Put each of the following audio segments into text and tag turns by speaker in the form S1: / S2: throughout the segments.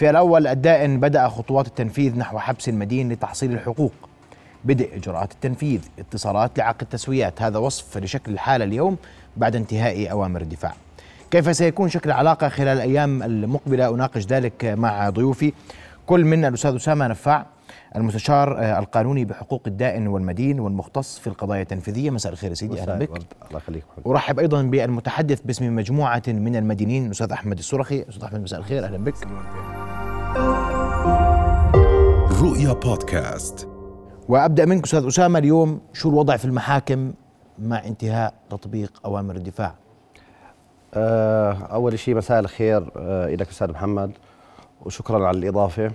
S1: في الأول الدائن بدأ خطوات التنفيذ نحو حبس المدين لتحصيل الحقوق بدء إجراءات التنفيذ اتصالات لعقد تسويات هذا وصف لشكل الحالة اليوم بعد انتهاء أوامر الدفاع كيف سيكون شكل العلاقة خلال الأيام المقبلة أناقش ذلك مع ضيوفي كل من الأستاذ أسامة نفاع المستشار آه، القانوني بحقوق الدائن والمدين والمختص في القضايا التنفيذية مساء الخير يا سيدي أهلا بك
S2: الله يخليك
S1: أرحب أيضا بالمتحدث باسم مجموعة من المدينين الأستاذ أحمد السرخي أستاذ أحمد مساء الخير أهلا بك
S3: رؤيا بودكاست
S1: وابدا منك استاذ اسامه اليوم شو الوضع في المحاكم مع انتهاء تطبيق اوامر الدفاع؟
S2: آه، أول شيء مساء الخير آه، إلك أستاذ محمد وشكرا على الإضافة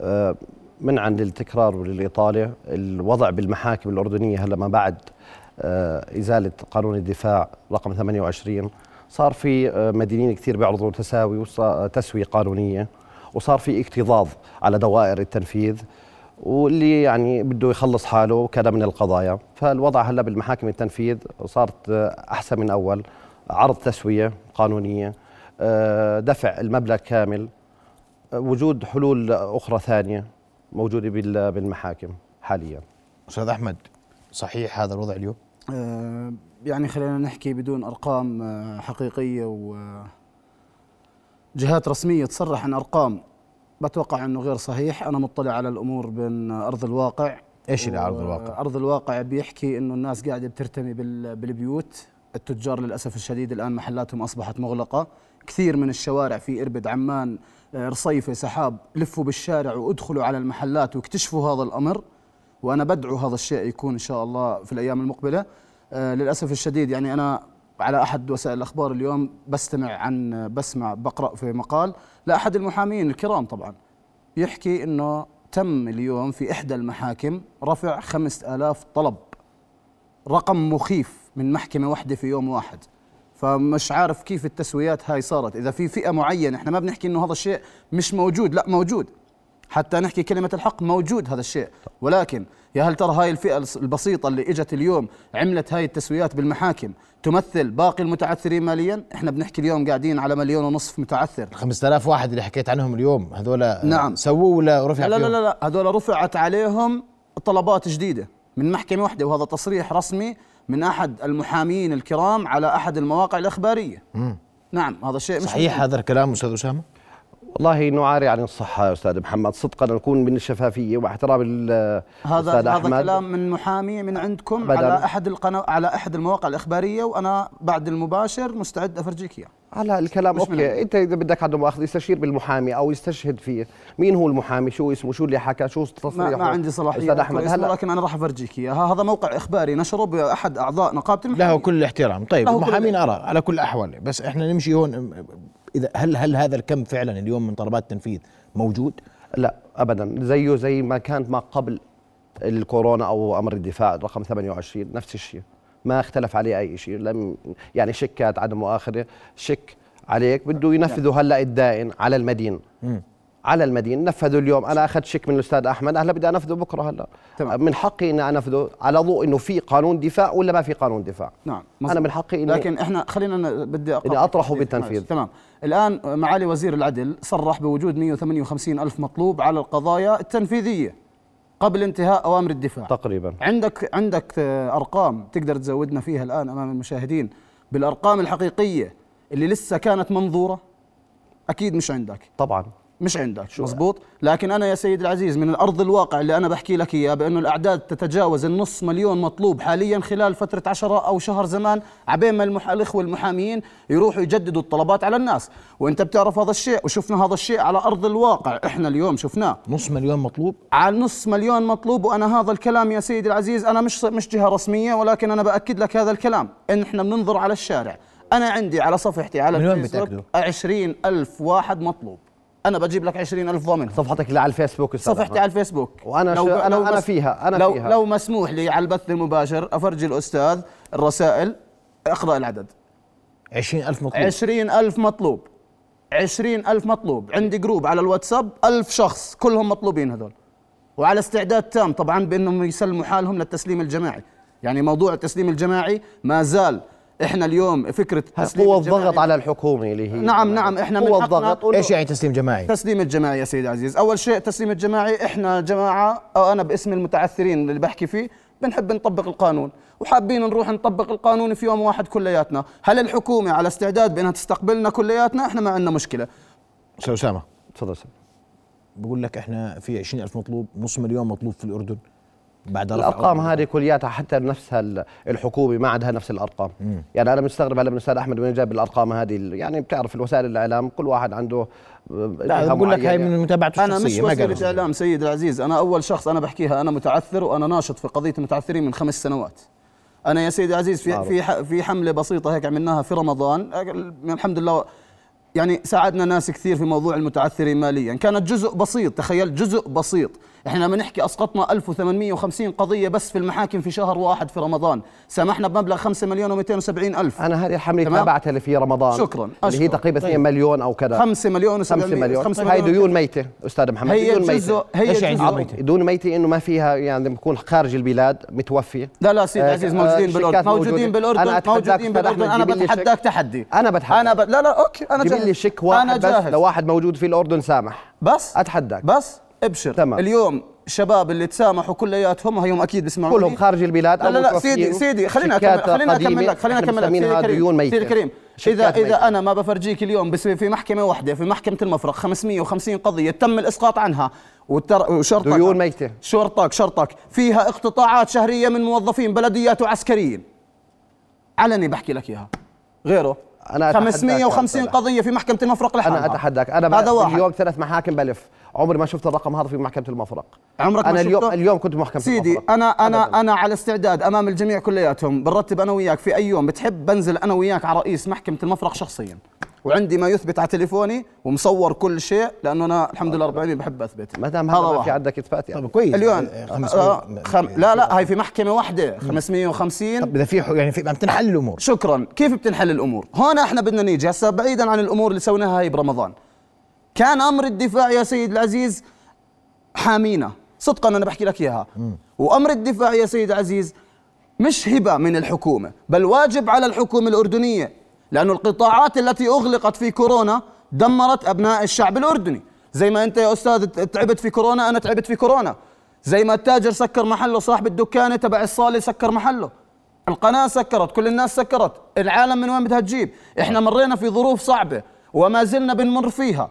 S2: آه، منعا للتكرار وللإطالة الوضع بالمحاكم الأردنية هلا ما بعد آه، إزالة قانون الدفاع رقم 28 صار في آه، مدينين كثير بيعرضوا تساوي وصا- تسوية قانونية وصار في اكتظاظ على دوائر التنفيذ واللي يعني بده يخلص حاله كذا من القضايا فالوضع هلا بالمحاكم التنفيذ صارت آه، أحسن من أول عرض تسوية قانونية آه، دفع المبلغ كامل آه، وجود حلول أخرى ثانية موجودة بال- بالمحاكم حاليا
S1: استاذ احمد صحيح هذا الوضع اليوم؟
S4: آه، يعني خلينا نحكي بدون ارقام آه، حقيقيه وجهات رسميه تصرح عن ارقام بتوقع انه غير صحيح انا مطلع على الامور بين ارض الواقع
S1: ايش اللي على ارض
S4: و-
S1: الواقع؟
S4: ارض الواقع بيحكي انه الناس قاعده بترتمي بال- بالبيوت التجار للاسف الشديد الان محلاتهم اصبحت مغلقه كثير من الشوارع في اربد عمان آه، رصيفه سحاب لفوا بالشارع وادخلوا على المحلات واكتشفوا هذا الامر وانا بدعو هذا الشيء يكون ان شاء الله في الايام المقبله آه، للاسف الشديد يعني انا على احد وسائل الاخبار اليوم بستمع عن بسمع بقرا في مقال لاحد المحامين الكرام طبعا يحكي انه تم اليوم في احدى المحاكم رفع 5000 طلب رقم مخيف من محكمه واحده في يوم واحد فمش عارف كيف التسويات هاي صارت اذا في فئه معينه احنا ما بنحكي انه هذا الشيء مش موجود لا موجود حتى نحكي كلمة الحق موجود هذا الشيء ولكن يا هل ترى هاي الفئة الس- البسيطة اللي اجت اليوم عملت هاي التسويات بالمحاكم تمثل باقي المتعثرين ماليا احنا بنحكي اليوم قاعدين على مليون ونصف متعثر
S1: 5000 واحد اللي حكيت عنهم اليوم هذول آه،
S4: نعم.
S1: سووا ولا رفع
S4: لا لا
S1: فيهم؟
S4: لا لا هذول رفعت عليهم طلبات جديده من محكمه واحده وهذا تصريح رسمي من احد المحامين الكرام على احد المواقع الاخباريه نعم هذا الشيء مش
S1: صحيح
S4: ممكن.
S1: هذا الكلام استاذ اسامه؟
S2: والله نعاري عن الصحة يا أستاذ محمد صدقا نكون من الشفافية واحترام ال-
S4: هذا
S2: أستاذ
S4: هذا
S2: أحمد.
S4: كلام من محامي من عندكم
S2: أبداً.
S4: على احد القناه على احد المواقع الاخباريه وانا بعد المباشر مستعد افرجيك اياه
S2: هلا الكلام
S4: مش من عندي.
S2: اوكي انت اذا بدك عنده مؤاخذه يستشير بالمحامي او يستشهد فيه مين هو المحامي شو اسمه شو اللي حكى شو
S4: ما,
S2: تصريحه
S4: ما عندي صلاحيه
S2: استاذ احمد
S4: أذكر اسمه،
S2: هلا
S4: لكن انا راح افرجيك اياه هذا موقع اخباري نشره باحد اعضاء نقابه المحامين
S1: له كل الاحترام، طيب
S4: له كل
S1: المحامين ارى على كل الاحوال بس احنا نمشي هون أم- اذا هل هل هذا الكم فعلا اليوم من طلبات التنفيذ موجود؟
S2: لا ابدا زيه زي ما كانت ما قبل الكورونا او امر الدفاع رقم 28 نفس الشيء ما اختلف عليه اي شيء لم يعني شيكات عدم مؤاخذه شك عليك
S4: نعم.
S2: بده ينفذوا هلا الدائن على المدين على المدين نفذوا اليوم انا اخذت شك من الاستاذ احمد هلا بدي انفذه بكره هلا
S4: تمام.
S2: من حقي اني انفذه على ضوء انه في قانون دفاع ولا ما في قانون دفاع
S4: نعم
S2: انا من حقي اني
S4: لكن احنا خلينا ن- بدي أقاطعك. إيه،
S2: إذا أطرحوا
S4: معلش.
S2: بالتنفيذ.
S4: تمام الان معالي وزير العدل صرح بوجود 158 الف مطلوب على القضايا التنفيذيه قبل انتهاء اوامر الدفاع
S2: تقريبا
S4: عندك عندك آه، ارقام تقدر تزودنا فيها الان امام المشاهدين بالارقام الحقيقيه اللي لسه كانت منظوره اكيد مش عندك
S2: طبعا
S4: مش عندك مزبوط لكن انا يا سيد العزيز من الارض الواقع اللي انا بحكي لك اياه بانه الاعداد تتجاوز النص مليون مطلوب حاليا خلال فتره عشرة او شهر زمان عبين ما المح... الاخوه المحاميين يروحوا يجددوا الطلبات على الناس وانت بتعرف هذا الشيء وشفنا هذا الشيء على ارض الواقع احنا اليوم شفناه
S1: نص مليون مطلوب؟
S4: على نص مليون مطلوب وانا هذا الكلام يا سيدي العزيز انا مش مش جهه رسميه ولكن انا باكد لك هذا الكلام ان احنا بننظر على الشارع انا عندي على صفحتي على
S1: من وين
S4: الفيسبوك
S1: بتأكدوا؟
S4: 20 ألف واحد مطلوب انا بجيب لك 20 ألف ضامنهم
S2: صفحتك اللي على الفيسبوك أستاذ أحمد.
S4: صفحتي على الفيسبوك
S2: وأنا شو- أنا- أنا
S4: مس-
S2: فيها، أنا
S4: لو
S2: فيها.
S4: لو مسموح لي على البث المباشر افرجي الاستاذ الرسائل اقرا العدد
S1: 20000
S2: طيب.
S1: مطلوب
S4: عشرين ألف مطلوب عشرين ألف مطلوب عندي جروب على الواتساب ألف شخص كلهم مطلوبين هذول وعلى استعداد تام طبعا بأنهم يسلموا حالهم للتسليم الجماعي يعني موضوع التسليم الجماعي ما زال احنا اليوم فكره التسليم
S2: قوة
S4: الجماعي-
S2: الضغط على الحكومة اللي هي
S4: نعم نعم احنا من
S2: قوة
S4: حقنا
S2: الضغط
S4: طول-
S1: ايش يعني تسليم جماعي؟
S4: تسليم الجماعي يا سيدي عزيز اول شيء تسليم الجماعي احنا جماعه او انا باسم المتعثرين اللي بحكي فيه بنحب نطبق القانون وحابين نروح نطبق القانون في يوم واحد كلياتنا هل الحكومه على استعداد بانها تستقبلنا كلياتنا احنا ما عندنا مشكله
S1: استاذ اسامه
S2: تفضل سيدي.
S1: بقول لك احنا في 20000 مطلوب نص مليون مطلوب في الاردن بعد رفع
S2: الارقام
S1: أرقام.
S2: هذه كلياتها حتى نفسها ال- الحكومه ما عندها نفس الارقام يعني انا مستغرب هلا من الاستاذ احمد وين جاب الارقام هذه ال- يعني بتعرف الوسائل الاعلام كل واحد عنده آه،
S1: لا بقول لك هاي من متابعته
S4: انا مش
S1: الشخصيه ما
S4: وسيله
S1: قال
S4: اعلام سيد العزيز انا اول شخص انا بحكيها انا متعثر وانا ناشط في قضيه المتعثرين من خمس سنوات انا يا سيدي العزيز في
S2: معروف.
S4: في ح- في حمله بسيطه هيك عملناها في رمضان أقل- الحمد لله يعني ساعدنا ناس كثير في موضوع المتعثرين ماليا كانت جزء بسيط تخيل جزء بسيط احنا لما نحكي اسقطنا 1850 قضيه بس في المحاكم في شهر واحد في رمضان سامحنا بمبلغ 5 مليون و270 الف
S2: انا هذه الحمله
S4: تمام.
S2: تابعتها اللي في رمضان
S4: شكراً.
S2: اللي هي
S4: أشكر.
S2: تقريبا 2 مليون او كذا
S4: 5 مليون و700
S2: 5 مليون هاي ديون ميته استاذ محمد
S4: هي
S2: ديون
S4: جزء
S2: ميته
S4: هي
S1: إيش يعني
S4: جزء
S1: ديون ميتة؟
S2: ديون ميته انه ما فيها يعني بكون خارج البلاد متوفي
S4: لا لا سيد
S2: آه،
S4: عزيز
S2: آه،
S4: موجودين
S2: شركات
S4: بالاردن
S2: موجودة.
S4: موجودين
S2: أنا
S4: بالاردن
S2: أتحداك أستاذ
S4: موجودين
S2: أحمد
S4: بالاردن انا
S2: جيب لي شك.
S4: بتحداك تحدي
S2: أنا بتحداك.
S4: انا ب... لا لا اوكي انا
S2: جيب
S4: جاهز
S2: لي شك
S4: انا
S2: واحد بس
S4: جاهز
S2: لو واحد موجود في الاردن سامح
S4: بس
S2: أتحداك.
S4: بس ابشر
S2: تمام.
S4: اليوم الشباب اللي تسامحوا كلياتهم هم اكيد بيسمعوني
S2: كلهم خارج البلاد
S4: لا
S2: أو
S4: لا, لا
S2: متوفيين.
S4: سيدي سيدي خلينا
S2: شيكات
S4: اكمل خلينا
S2: قديمة.
S4: اكمل لك خلينا
S2: إحنا
S4: اكمل لك
S2: مسمينها ديون ميتة.
S4: سيدي كريم اذا
S2: شيكات ميتة.
S4: اذا انا ما بفرجيك اليوم بس في محكمه واحده في محكمه المفرق 550 قضيه تم الاسقاط عنها والتر... وشرطك
S2: ديون ميتة.
S4: شرطك شرطك فيها اقتطاعات شهريه من موظفين بلديات وعسكريين علني بحكي لك اياها غيره
S2: أنا أتحداك يا
S4: 550
S2: أستاذ.
S4: قضيه في محكمه المفرق لحالها
S2: انا اتحداك انا
S4: هذا
S2: بقى
S4: واحد
S2: اليوم ثلاث محاكم بلف عمري ما شفت الرقم هذا في محكمه المفرق
S4: عمرك ما
S2: انا اليوم
S4: شفته؟
S2: اليوم كنت محكمه
S4: سيدي
S2: المفرق.
S4: انا انا
S2: أبداً.
S4: انا على استعداد امام الجميع كلياتهم بنرتب انا وياك في اي يوم بتحب بنزل انا وياك على رئيس محكمه المفرق شخصيا وعندي ما يثبت على تليفوني ومصور كل شيء لانه انا الحمد لله 40 بحب اثبت
S2: ما دام هذا ما في
S4: واحد.
S2: عندك اثبات يعني
S1: طب كويس
S4: اليوم
S1: آه،
S4: آه،
S1: 500
S4: خم... لا لا هاي في محكمه واحده 550
S1: طب اذا في حو- يعني في عم تنحل الامور
S4: شكرا كيف بتنحل الامور هون احنا بدنا نيجي هسه بعيدا عن الامور اللي سويناها هاي برمضان كان امر الدفاع يا سيد العزيز حامينا صدقا انا بحكي لك اياها وامر الدفاع يا سيد العزيز مش هبه من الحكومه بل واجب على الحكومه الاردنيه لأن القطاعات التي اغلقت في كورونا دمرت ابناء الشعب الاردني زي ما انت يا استاذ تعبت في كورونا انا تعبت في كورونا زي ما التاجر سكر محله صاحب الدكانه تبع الصاله سكر محله القناة سكرت كل الناس سكرت العالم من وين بدها تجيب احنا مرينا في ظروف صعبة وما زلنا بنمر فيها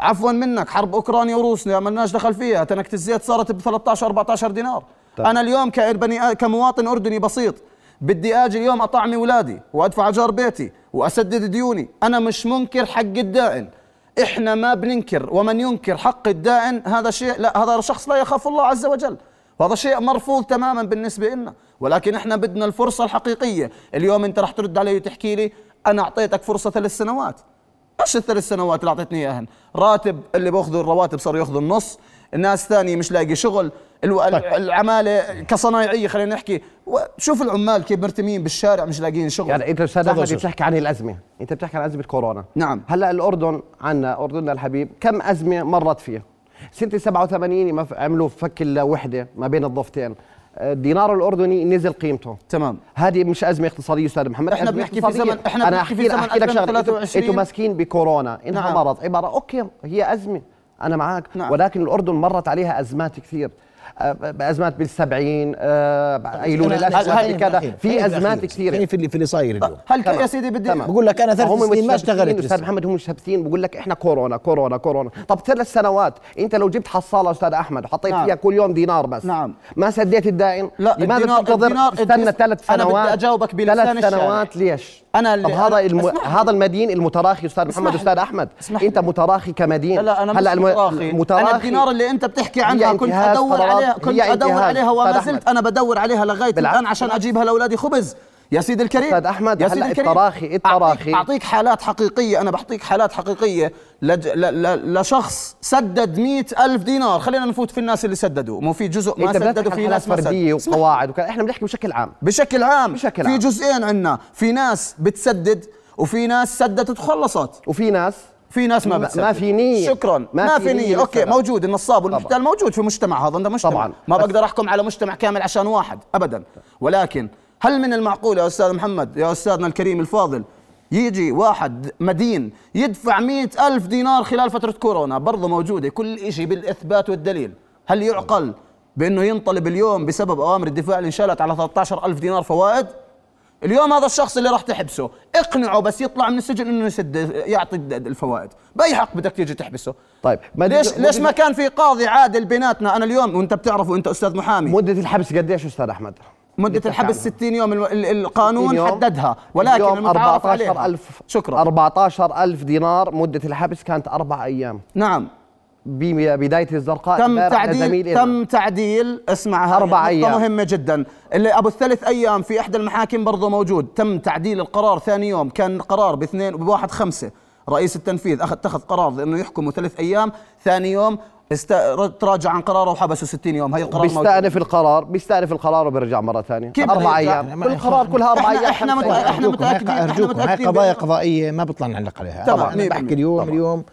S4: عفوا منك حرب اوكرانيا وروسيا ما لناش دخل فيها تنكت الزيت صارت ب 13 14 دينار طيب. انا اليوم كبني كمواطن اردني بسيط بدي اجي اليوم اطعمي اولادي وادفع اجار بيتي واسدد ديوني انا مش منكر حق الدائن احنا ما بننكر ومن ينكر حق الدائن هذا شيء لا هذا شخص لا يخاف الله عز وجل وهذا شيء مرفوض تماما بالنسبة لنا ولكن احنا بدنا الفرصة الحقيقية اليوم انت رح ترد علي وتحكي لي انا اعطيتك فرصة ثلاث سنوات ايش الثلاث سنوات اللي اعطيتني اياهن راتب اللي باخذوا الرواتب صاروا ياخذوا النص الناس ثانية مش لاقي شغل الو...
S2: طيب.
S4: العمالة كصنايعية خلينا نحكي و- شوف العمال كيف مرتمين بالشارع مش لاقيين شغل
S2: يعني انت استاذ
S1: تفضل
S2: احمد
S1: أستاذ.
S2: بتحكي عن الازمه انت بتحكي عن ازمه كورونا
S4: نعم.
S2: هلا الاردن عنا اردننا الحبيب كم ازمه مرت فيه سنه 87 ما ف- عملوا فك الوحده ما بين الضفتين آه، الدينار الاردني نزل قيمته
S4: تمام
S2: هذه مش ازمه اقتصاديه استاذ محمد
S4: إحنا
S2: أزمة
S4: بنحكي في
S2: اقتصادية.
S4: زمن- إحنا
S2: انا
S4: بنحكي في
S2: احكي لك
S4: زمن
S2: احكي لك شغله أنتوا-
S4: 2023.
S2: انتوا ماسكين بكورونا انها نعم.
S4: نعم.
S2: مرض عباره اوكي هي ازمه انا معك
S4: نعم.
S2: نعم. ولكن الاردن مرت عليها ازمات كثير أه، ازمات بالسبعين
S4: طيب،
S2: أه ايلول
S1: أنا-
S2: الأسود،
S1: خليني في
S2: كذا
S1: الأخير. خليني
S2: في ازمات
S1: الأخير.
S2: كثيره
S1: خليني في اللي في اللي صاير اليوم
S4: هل
S2: تمام.
S4: يا سيدي بدي
S2: تمام.
S1: بقول لك انا ثلاث
S2: هم
S1: سنين ما
S2: متشبثين
S1: اشتغلت
S2: استاذ
S1: لسه.
S2: محمد هم متشبثين بقول لك احنا كورونا كورونا كورونا طب ثلاث سنوات انت لو جبت حصاله استاذ احمد وحطيت
S4: نعم.
S2: فيها كل يوم دينار بس
S4: نعم.
S2: ما سديت الدائن
S4: لا،
S2: لماذا
S4: الدينار-
S2: تنتظر
S4: الدينار-
S2: استنى
S4: الديس-
S2: ثلاث
S4: أنا
S2: سنوات
S4: بدي أجاوبك بلسان
S2: ثلاث
S4: الشارع.
S2: سنوات ليش
S4: أنا اللي-
S2: طب هذا
S4: أنا-
S2: الم...
S4: اسمح لي.
S2: هذا المدين المتراخي استاذ محمد
S4: اسمح
S2: استاذ
S4: لي.
S2: احمد
S4: اسمح
S2: انت
S4: لي.
S2: متراخي كمدين
S4: لا لا انا هلا مش
S2: الم-
S4: متراخي انا الدينار اللي انت بتحكي
S2: هي
S4: عنها كنت
S2: انتهاز
S4: ادور
S2: قرارات-
S4: عليها كنت
S2: هي
S4: ادور
S2: انتهاز.
S4: عليها وما
S2: أستاذ أحمد.
S4: زلت انا بدور عليها لغايه
S2: بالعكس.
S4: الان عشان اجيبها لاولادي خبز يا سيدي الكريم
S2: أستاذ أحمد،
S4: يا سيدي
S2: هلأ
S4: الكريم
S2: التراخي- إيه التراخي.
S4: أعطيك, اعطيك حالات حقيقيه انا بعطيك حالات حقيقيه لج... ل... ل... لشخص سدد مئة ألف دينار خلينا نفوت في الناس اللي سددوا مو في جزء ما
S2: انت
S4: سددوا
S2: بتحكي
S4: في
S2: عن إيه، حالات
S4: ناس ما سددوا.
S2: فرديه
S4: اسمح لي.
S2: وقواعد وكذا احنا بنحكي بشكل عام
S4: بشكل عام
S2: بشكل
S4: في
S2: عام.
S4: جزئين عندنا في ناس بتسدد وفي ناس سددت وخلصت
S2: وفي ناس
S4: في ناس ما
S2: ما-
S4: بتسدد
S2: ما في نية.
S4: شكرا ما,
S2: ما
S4: ما
S2: في
S4: في نية,
S2: نية
S4: اوكي
S2: للسبب.
S4: موجود النصاب والمحتال موجود في مجتمع هذا ده مجتمع
S2: طبعاً.
S4: ما
S2: بس-
S4: بقدر احكم على مجتمع كامل عشان واحد ابدا ولكن هل من المعقول يا أستاذ محمد يا أستاذنا الكريم الفاضل يجي واحد مدين يدفع مئة ألف دينار خلال فترة كورونا برضه موجودة كل شيء بالإثبات والدليل هل يعقل بأنه ينطلب اليوم بسبب أوامر الدفاع اللي انشالت على 13 ألف دينار فوائد اليوم هذا الشخص اللي راح تحبسه اقنعه بس يطلع من السجن انه يسد يعطي الد- الفوائد باي حق بدك تيجي تحبسه
S2: طيب ما
S4: ليش
S2: بدي-
S4: ليش ما كان في قاضي عادل بيناتنا انا اليوم وانت بتعرفه انت استاذ محامي
S2: مدة الحبس قديش استاذ احمد؟
S4: مدة
S2: نتفق
S4: الحبس
S2: عنها.
S4: 60 يوم الو- ال- القانون
S2: يوم.
S4: حددها ولكن
S2: اليوم
S4: المتعارف عليها
S2: 14000
S4: شكرا
S2: 14000 دينار مدة الحبس كانت أربع أيام
S4: نعم
S2: بداية الزرقاء
S4: تم
S2: امبارح
S4: تعديل
S2: لزميل إلنا.
S4: تم تعديل اسمع هاي
S2: أربع
S4: نقطة
S2: أيام.
S4: مهمة جدا اللي ابو الثلاث ايام في احدى المحاكم برضه موجود تم تعديل القرار ثاني يوم كان قرار باثنين بواحد خمسة رئيس التنفيذ اخذ اتخذ قرار انه يحكمه ثلاث ايام ثاني يوم است... تراجع عن قراره وحبسه 60 يوم هي القرار موجود
S2: بيستأنف القرار بيستأنف القرار وبيرجع مرة ثانية
S4: كيف بده
S2: أربع
S4: يرجع؟
S2: أيام
S1: يعني ما-
S2: بالقرار كلها أربع
S4: إحنا-
S2: أيام
S4: إحنا
S2: خمس
S4: مت-
S2: أيام.
S4: إحنا
S1: أرجوكم، هاي
S4: متأكدين- إحنا
S1: ارجوكم هاي
S4: متأكدين
S1: قضايا
S4: بأنه-
S1: قضائيه ما بطلع نعلق عليها
S4: طبعاً،
S1: طبعا انا
S4: 100%
S1: بحكي اليوم
S2: طبعاً.
S1: اليوم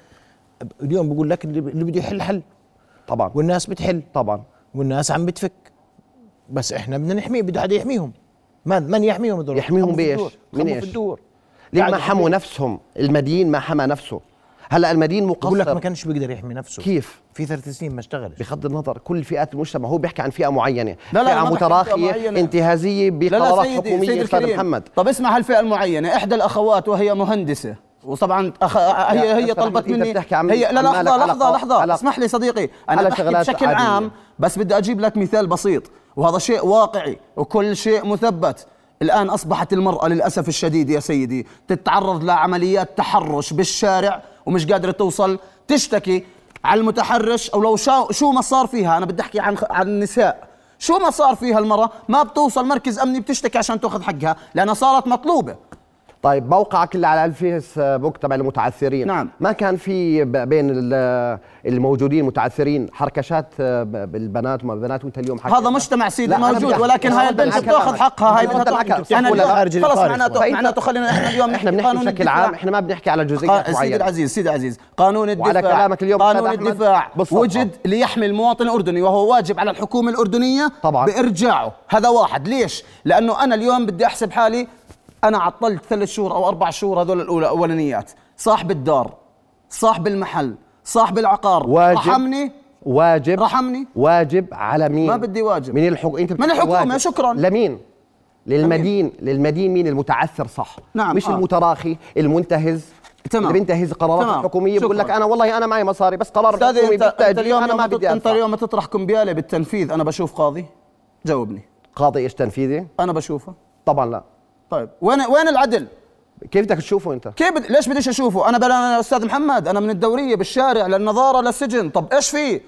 S1: اليوم بقول لك اللي اللي بده يحل حل
S2: طبعا
S1: والناس بتحل
S2: طبعا
S1: والناس عم بتفك بس احنا بدنا نحميه بده حدا يحميهم من من يحميهم هذول
S2: يحميهم
S1: خموا في
S2: بإيش؟
S1: الدور،
S2: من
S1: خموا
S2: إيش؟
S1: في الدور
S2: ليه ما
S1: قاعد
S2: حموا نفسهم المدين ما حمى نفسه هلا المدين
S1: بقول لك ما
S2: مقصر
S1: كانش بيقدر يحمي نفسه
S2: كيف
S1: في ثلاث سنين ما اشتغلش
S2: بغض النظر كل فئات المجتمع هو بيحكي عن فئه معينه
S4: لا، لا، ما
S2: فئه
S4: بحكي عن فئة
S2: متراخيه
S4: معينة.
S2: انتهازيه بقرارات حكوميه استاذ محمد
S4: طب اسمع هالفئه المعينه احدى الاخوات وهي مهندسه وطبعا أخ...
S2: أستاذ
S4: هي هي
S2: أحمد،
S4: طلبت
S2: أنت
S4: مني
S2: بتحكي عن
S4: هي لا
S2: عمالك
S4: لحظه
S2: على
S4: لحظه
S2: قا-
S4: لحظه
S2: على-
S4: اسمح لي صديقي انا
S2: على
S4: بحكي
S2: شغلات
S4: بشكل
S2: عادية.
S4: عام بس بدي اجيب لك مثال بسيط وهذا شيء واقعي وكل شيء مثبت الان اصبحت المراه للاسف الشديد يا سيدي تتعرض لعمليات تحرش بالشارع ومش قادره توصل تشتكي على المتحرش او لو شا- شو ما صار فيها انا بدي احكي عن عن النساء شو ما صار فيها المراه ما بتوصل مركز امني بتشتكي عشان تاخذ حقها لانها صارت مطلوبه
S2: طيب موقعك اللي على الفيسبوك تبع المتعثرين
S4: نعم.
S2: ما كان في ب- بين ال- آه، الموجودين المتعثرين حركشات آه، ب- بالبنات وما بالبنات وانت اليوم حكيت
S4: هذا مجتمع سيدي
S2: لا، أنا بدي
S4: موجود
S2: أحكي.
S4: ولكن
S2: أنا
S4: هاي
S2: بدي
S4: البنت
S2: أحكي
S4: بتاخذ
S2: عنك.
S4: حقها هاي
S2: أنت بدك
S4: بدها
S2: أحكي.
S4: تاخذ- انا
S1: ولا خارج
S4: اليوم خلص
S1: الإطار
S4: معناته
S1: شوي.
S4: معناته خلينا احنا اليوم
S2: احنا طيب، بنحكي
S4: قانون
S2: بشكل
S4: الدفاع-
S2: عام احنا ما بنحكي على جزئيات
S4: قا- سيدي
S2: معينه
S4: العزيز سيدي العزيز قانون الدفاع
S2: وعلى كلامك اليوم
S4: قانون
S2: أستاذ أحمد،
S4: الدفاع
S2: بالصفحة.
S4: وجد ليحمي المواطن الاردني وهو واجب على الحكومه الاردنيه
S2: طبعاً.
S4: بارجاعه هذا واحد ليش لانه انا اليوم بدي احسب حالي انا عطلت ثلاث شهور او اربع شهور هذول الاولى اولانيات صاحب الدار صاحب المحل صاحب العقار
S2: واجب.
S4: رحمني
S2: واجب
S4: رحمني
S2: واجب على مين
S4: ما بدي واجب.
S2: من الحكومه انت
S4: من
S2: بتحكي
S4: الحكومة،
S2: واجب.
S4: شكراً.
S2: لمين للمدين للمدين مين المتعثر صح
S4: نعم،
S2: مش
S4: آه.
S2: المتراخي المنتهز
S4: تمام.
S2: اللي بينتهز قرارات
S4: تمام،
S2: الحكوميه بقول لك
S4: شكراً.
S2: انا والله انا معي مصاري بس قرار
S4: استاذ
S2: الحكومي
S4: انت, انت
S2: بالتاجيل
S4: اليوم
S2: انا ما
S4: لما
S2: بدي
S4: تط- انت
S2: أدفع.
S4: اليوم تطرح قنبياله بالتنفيذ انا بشوف قاضي جاوبني
S2: قاضي ايش تنفيذي
S4: انا بشوفه
S2: طبعا لا
S4: طيب وين وين العدل
S2: كيف بدك تشوفه انت
S4: كيف بد... ليش بديش اشوفه انا بلا انا استاذ محمد انا من الدوريه بالشارع للنظاره للسجن طب ايش في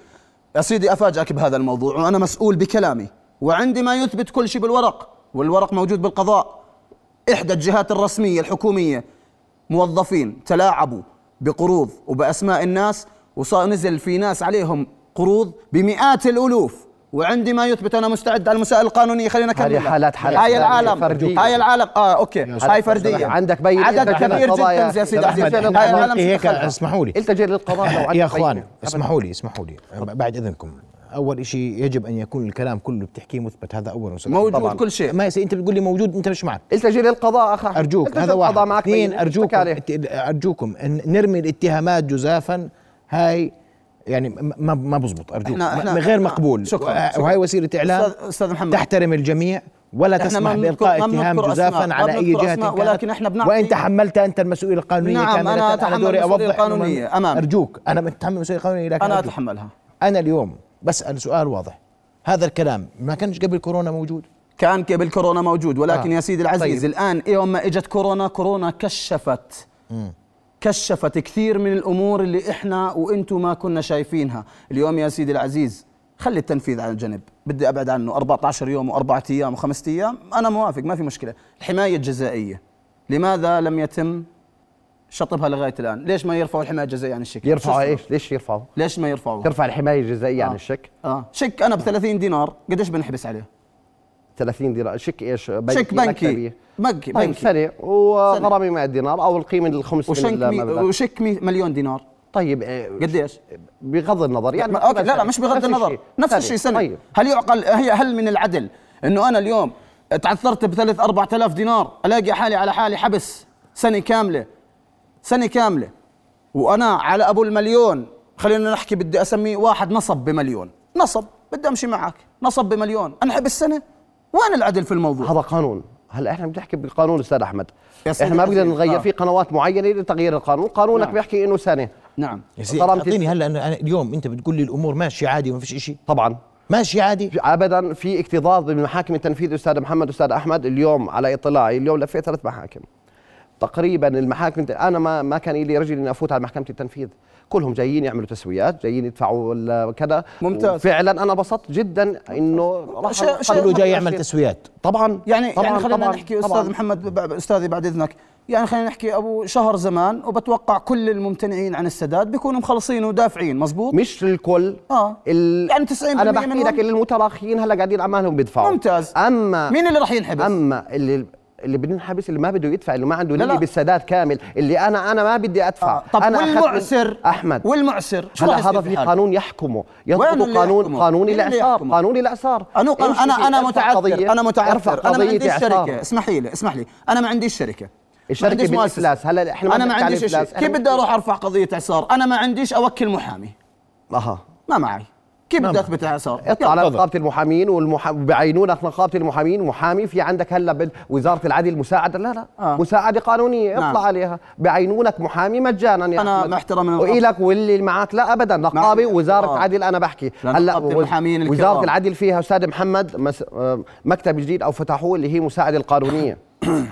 S4: يا سيدي افاجئك بهذا الموضوع وانا مسؤول بكلامي وعندي ما يثبت كل شيء بالورق والورق موجود بالقضاء احدى الجهات الرسميه الحكوميه موظفين تلاعبوا بقروض وباسماء الناس وصار نزل في ناس عليهم قروض بمئات الالوف وعندي ما يثبت انا مستعد على المسائل القانونيه خلينا نكمل
S2: هذه حالات- حالات
S4: هاي
S2: فردية.
S4: العالم هاي العالم اه اوكي هاي فرديه
S2: عندك بين-
S4: عدد
S2: عندك
S4: كبير
S2: قضايا.
S4: جدا يا إيه، سيدي
S2: أستاذ
S4: العزيز
S1: أحمد،
S4: هاي
S1: إحنا
S4: العالم
S1: بنلقي هيك
S4: شتدخلها.
S1: إيه، اسمحوا لي
S2: التجئ للقضاء لو عندك
S1: يا اخوان
S2: بينة.
S1: اسمحوا لي اسمحوا لي بعد اذنكم اول شيء يجب ان يكون الكلام كله بتحكيه مثبت هذا اولا وسبب.
S4: موجود كل شيء.
S1: ما يصير انت بتقول لي موجود انت مش معك
S2: التجئ للقضاء اخا
S1: ارجوك
S2: التجئ
S1: هذا واحد
S2: للقضاء معك
S1: اثنين
S2: بينة. اشتكى
S1: ارجوكم
S2: عليه.
S1: ات- ارجوكم ان نرمي الاتهامات جزافا هاي يعني ما- ما ما بزبط ارجوك
S4: إحنا-
S1: ما-
S4: إحنا-
S1: غير
S4: إحنا-
S1: مقبول
S4: شكراً، شكراً.
S1: وهاي وسيله اعلام
S4: أستاذ- أستاذ محمد.
S1: تحترم الجميع ولا
S4: إحنا
S1: تسمح
S4: ما بنذكر-
S1: بالقاء
S4: ما
S1: اتهام
S4: بنذكر أسماء،
S1: جزافا
S4: ما
S1: على اي
S4: بنذكر
S1: جهه
S4: أسماء،
S1: كانت،
S4: ولكن إحنا بنعطي-
S1: وان تحملت انت المسؤوليه القانونيه
S4: نعم، أنا
S1: كامله
S4: أتحمل
S1: دوري
S4: المسؤولية
S1: أوضح إنه
S4: القانونية،
S1: ما-
S4: أمامي.
S1: ارجوك انا متحمل المسؤوليه القانونيه لكن
S4: انا
S1: أرجوك.
S4: اتحملها
S1: انا اليوم بسال سؤال واضح هذا الكلام ما كانش قبل كورونا موجود
S4: كان قبل كورونا موجود ولكن
S1: آه.
S4: يا سيدي العزيز
S1: طيب.
S4: الان يوم ما اجت كورونا كورونا كشفت كشفت كثير من الامور اللي احنا وانتم ما كنا شايفينها اليوم يا سيدي العزيز خلي التنفيذ على جنب بدي ابعد عنه 14 يوم واربعة ايام وخمسة ايام انا موافق ما في مشكله الحمايه الجزائيه لماذا لم يتم شطبها لغايه الان ليش ما يرفعوا الحمايه الجزائيه عن الشكل
S2: يرفعوا ايش ليش يرفعوا
S4: ليش ما يرفعوها
S2: ترفع الحمايه الجزائيه عن
S4: آه.
S2: الشك
S4: اه شك انا ب 30 دينار قديش بنحبس عليه
S2: 30 دينار شك ايش
S4: شك بنكي
S2: مكتبي.
S4: بنكي
S2: طيب
S4: بنكي
S2: سنة وغرامي 100 دينار او القيمه الخمس
S4: وشك
S2: من
S4: مي
S2: المبلغ
S4: وشك مي مليون دينار
S2: طيب إيه،
S4: قديش
S2: بغض النظر يعني
S4: ما- طيب، اوكي لا لا
S2: سنة.
S4: مش بغض
S2: نفس
S4: النظر
S2: الشيء.
S4: نفس الشيء سنه
S2: طيب
S4: هل يعقل هي هل من العدل انه انا اليوم تعثرت بثلاث أربعة آلاف دينار ألاقي حالي على حالي حبس سنة كاملة سنة كاملة وأنا على أبو المليون خلينا نحكي بدي أسميه واحد نصب بمليون نصب بدي أمشي معك نصب بمليون أنحب السنة وين العدل في الموضوع
S2: هذا قانون هلا احنا بنحكي بالقانون استاذ احمد
S4: يا سيدي
S2: احنا ما بنقدر
S4: عزيز.
S2: نغير
S4: آه.
S2: في قنوات معينه لتغيير القانون قانونك
S4: نعم.
S2: بيحكي انه سنه
S4: نعم
S1: يا سيدي
S2: طالما
S1: اعطيني
S2: بتس-
S1: هلا أنا- أنا اليوم انت بتقول لي الامور ماشيه عادي وما فيش شيء
S2: طبعا
S1: ماشي عادي
S2: في- ابدا في اكتظاظ بالمحاكم التنفيذ استاذ محمد استاذ احمد اليوم على اطلاعي اليوم لفيت ثلاث محاكم تقريبا المحاكم الت- انا ما ما كان لي رجل اني افوت على محكمه التنفيذ كلهم جايين يعملوا تسويات جايين يدفعوا ال- كذا
S4: ممتاز.
S2: فعلا انا بسطت جدا انه راح
S4: شيء- شيء-
S2: أقرر
S1: كله جاي
S2: أشياء.
S1: يعمل تسويات
S2: طبعا
S4: يعني
S2: طبعا
S4: يعني خلينا
S2: طبعاً،
S4: نحكي
S2: طبعاً.
S4: استاذ محمد ب- ب- استاذي بعد اذنك يعني خلينا نحكي ابو شهر زمان وبتوقع كل الممتنعين عن السداد بيكونوا مخلصين ودافعين مزبوط
S2: مش للكل
S4: اه
S2: ال...
S4: يعني 90%
S2: انا بحكي
S4: منهم؟
S2: لك اللي المتراخيين هلا قاعدين اعمالهم بيدفعوا
S4: ممتاز.
S2: اما
S4: مين اللي راح ينحبس؟
S2: اما اللي اللي بده ينحبس اللي ما بده يدفع اللي ما عنده
S4: لا،
S2: نية
S4: لا.
S2: بالسداد كامل اللي انا انا ما بدي ادفع
S4: آه. طب
S2: انا أخذت من-
S4: والمعسر
S2: احمد
S4: والمعسر شو راح
S2: هلا
S4: يصير
S2: هذا في
S4: حاله؟
S2: قانون يحكمه
S4: وين
S2: يضبط
S4: اللي
S2: قانون
S4: يحكمه؟
S2: قانوني
S4: مين اللي
S2: الاعسار
S4: يحكمه؟
S2: قانوني الاعسار
S4: انا
S2: امشي
S4: انا
S2: في-
S4: انا
S2: ارفع قضية-
S4: متعثر انا
S2: ارفع
S4: متعثر انا ما
S2: قضية
S4: عنديش
S2: إعسار.
S4: شركه اسمح لي اسمح لي انا ما عنديش شركه
S2: الشركة
S4: ما عنديش مؤسسة.
S2: بالإفلاس. هلا إحنا ما
S4: انا ما
S2: بنحكي عن
S4: عنديش شيء
S2: الإفلاس. إحنا
S4: كيف بدي
S2: بنحكي-
S4: اروح ارفع قضيه اعسار انا ما عنديش اوكل محامي
S2: اها
S4: ما معي كيف
S1: ما
S4: بدي
S1: معي.
S4: اثبت اعسار
S2: اطلع على
S1: تفضل.
S2: نقابه المحامين والمح... بعينونك نقابه المحامين محامي في عندك هلا بال- وزاره العدل مساعده لا لا
S4: آه.
S2: آه. مساعده قانونيه اطلع
S4: نعم.
S2: عليها بعينونك محامي مجانا يا
S4: أنا
S2: أحمد.
S4: مع احترامي للنقابة.
S2: والك واللي معك لا ابدا نقابه
S4: مع-
S2: وزاره
S4: آه.
S2: عدل انا بحكي
S4: لنقابة المحامين الكرام.
S2: وزاره العدل فيها استاذ محمد مس... آه، مكتب جديد او فتحوه اللي هي مساعده القانونيه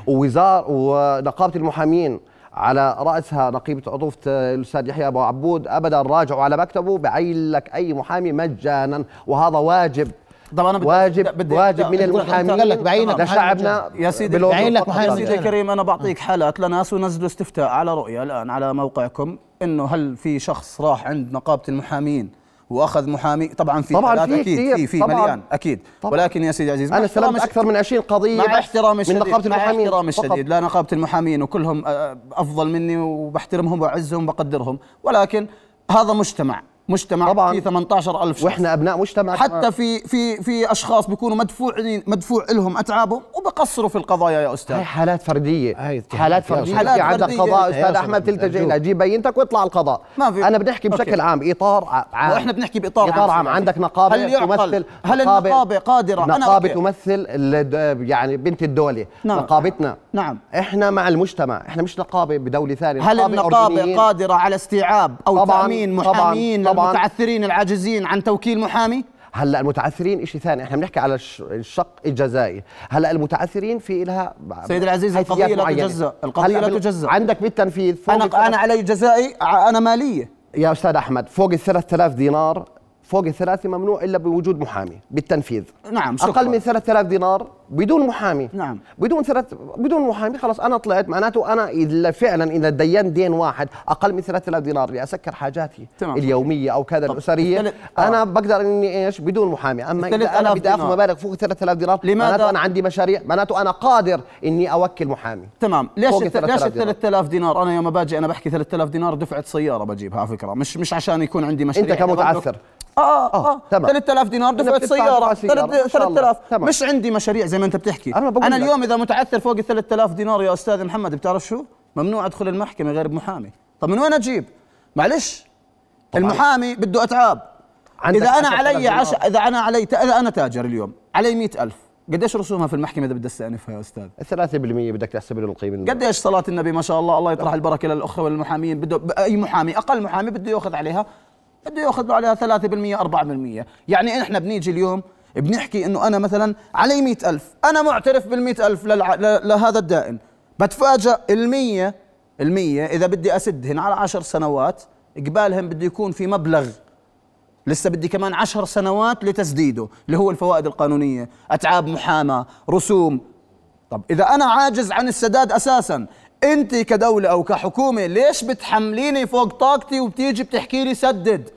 S2: ووزاره ونقابه المحامين على راسها نقيبه عضوفة الاستاذ يحيى ابو عبود ابدا راجعوا على مكتبه بعين لك اي محامي مجانا وهذا واجب
S4: طب أنا بدي-
S2: واجب
S4: بدي- بدي-
S2: واجب من
S4: بدي-
S2: المحامين
S1: قال لك بعين لك محامي
S2: لشعبنا
S1: مجانا.
S4: يا سيدي
S2: بالأردن
S1: بعين لك
S2: فقط.
S1: محامي
S4: يا
S1: طبعاً.
S4: سيدي الكريم انا بعطيك حالات لناس ونزلوا استفتاء على رؤيا الان على موقعكم انه هل في شخص راح عند نقابه المحامين واخذ محامي طبعا في
S2: طبعاً
S4: حالات
S2: في
S4: اكيد
S2: كتير.
S4: في في
S2: طبعاً.
S4: مليان اكيد
S2: طبعاً.
S4: ولكن يا سيدي عزيز مع
S2: انا
S4: احترامي
S2: استلمت اكثر من 20 قضيه
S4: مع
S2: بحث
S4: احترامي
S2: من
S4: الشديد
S2: نقابه
S4: مع
S2: المحامين
S4: احترامي
S2: فقط.
S4: الشديد لا نقابه المحامين وكلهم آه، افضل مني وبحترمهم وبعزهم وبقدرهم ولكن هذا مجتمع مجتمع
S2: طبعاً.
S4: فيه 18000 شخص
S2: واحنا ابناء مجتمع
S4: حتى في في في اشخاص بيكونوا مدفوعين مدفوع لهم اتعابهم وبقصروا في القضايا يا استاذ
S2: هاي حالات فرديه
S1: هاي تحديات
S2: حالات
S1: يا
S2: فرديه
S4: أستاذ.
S2: في عندك
S4: حالات
S2: قضاء
S1: فردية.
S2: استاذ
S1: يا
S2: احمد
S1: أستاذ
S2: تلتجئ
S1: أرجوك.
S2: الى جيب بينتك واطلع على القضاء
S4: ما في-
S2: انا بنحكي بشكل
S4: أوكي.
S2: عام اطار ع- عام
S4: واحنا بنحكي باطار
S2: اطار عام
S4: سيدي.
S2: عندك نقابه
S4: هل يعقل؟
S2: تمثل
S4: هل النقابه قادره
S2: نقابه
S4: أوكي.
S2: تمثل ال- يعني بنت الدوله
S4: نعم.
S2: نقابتنا
S4: نعم.
S2: احنا مع المجتمع احنا مش نقابه بدوله ثانيه
S4: هل
S2: نقابة
S4: النقابه
S2: أردنيين.
S4: قادره على استيعاب او
S2: طبعاً،
S4: تامين
S2: طبعاً،
S4: محامين
S2: طبعاً.
S4: للمتعثرين العاجزين عن توكيل محامي
S2: هلا المتعثرين شيء ثاني احنا بنحكي على الش- الشق الجزائي هلا المتعثرين في لها
S4: سيد العزيز، القضية
S2: حيثيات
S4: لا
S2: معينة.
S4: تجزأ، القضية
S2: هلأ
S4: لا
S2: بال-
S4: تجزأ.
S2: عندك بالتنفيذ فوق الثلاث-
S4: انا انا علي جزائي ع- انا ماليه
S2: يا استاذ احمد فوق ال 3000 دينار فوق الثلاثة ممنوع الا بوجود محامي بالتنفيذ
S4: نعم، شكراً.
S2: اقل من 3000 دينار بدون محامي
S4: نعم.
S2: بدون ثلاث بدون محامي خلاص انا طلعت معناته انا اذا فعلا اذا دينت دين واحد اقل من 3000 دينار لاسكر حاجاتي
S4: تمام.
S2: اليوميه او كذا
S4: طب
S2: الاسريه
S4: الثلاث- آه.
S2: انا بقدر اني ايش بدون محامي اما اذا
S4: 3000
S2: انا بدي اخذ
S4: دينار.
S2: مبالغ فوق 3000 دينار
S4: لماذا؟
S2: معناته انا عندي مشاريع معناته انا قادر اني اوكل محامي
S4: تمام ليش
S2: فوق
S4: الت-
S2: الثلاث
S4: ليش
S2: آلاف
S4: ال
S2: دينار.
S4: 3000 دينار انا يوم باجي انا بحكي 3000 دينار دفعه سياره بجيبها على فكره مش مش عشان يكون عندي مشاريع
S2: أنت كمتعثر.
S4: أنا بملك- اه اه, آه
S2: آه، تمام.
S4: 3000 دينار
S2: أنا
S4: دفعه
S2: بدفع
S4: سياره
S2: دفعة سيارة، إن شاء الله.
S4: 3000
S2: تمام.
S4: مش عندي مشاريع زي ما انت بتحكي
S2: أنا بقول
S4: انا
S2: لك.
S4: اليوم اذا متعثر فوق ال 3000 دينار يا استاذ محمد بتعرف شو ممنوع ادخل المحكمه غير بمحامي طب من وين اجيب معلش المحامي بده اتعاب
S2: عندك
S4: اذا انا
S2: 10,000
S4: علي
S2: دينار.
S4: عش... اذا انا علي اذا انا تاجر اليوم علي 100000 قديش رسومها في المحكمه اذا بدي استأنفها يا استاذ
S2: 3% بدك تحسب له القيمه المالية.
S4: قديش صلاة النبي ما شاء الله الله يطرح البركة للأخرى والمحامين بده أي محامي أقل محامي بده يأخذ عليها بده يأخذ له عليها 3% 4% يعني إحنا بنيجي اليوم بنحكي إنه أنا مثلا علي مئة ألف أنا معترف بالمئة ألف للع... ل... لهذا الدائن بتفاجأ المية المية إذا بدي أسدهن على عشر سنوات إقبالهم بده يكون في مبلغ لسه بدي كمان عشر سنوات لتسديده اللي هو الفوائد القانونية أتعاب محامى رسوم طب إذا أنا عاجز عن السداد أساسا أنت كدولة أو كحكومة ليش بتحمليني فوق طاقتي وبتيجي بتحكي لي سدد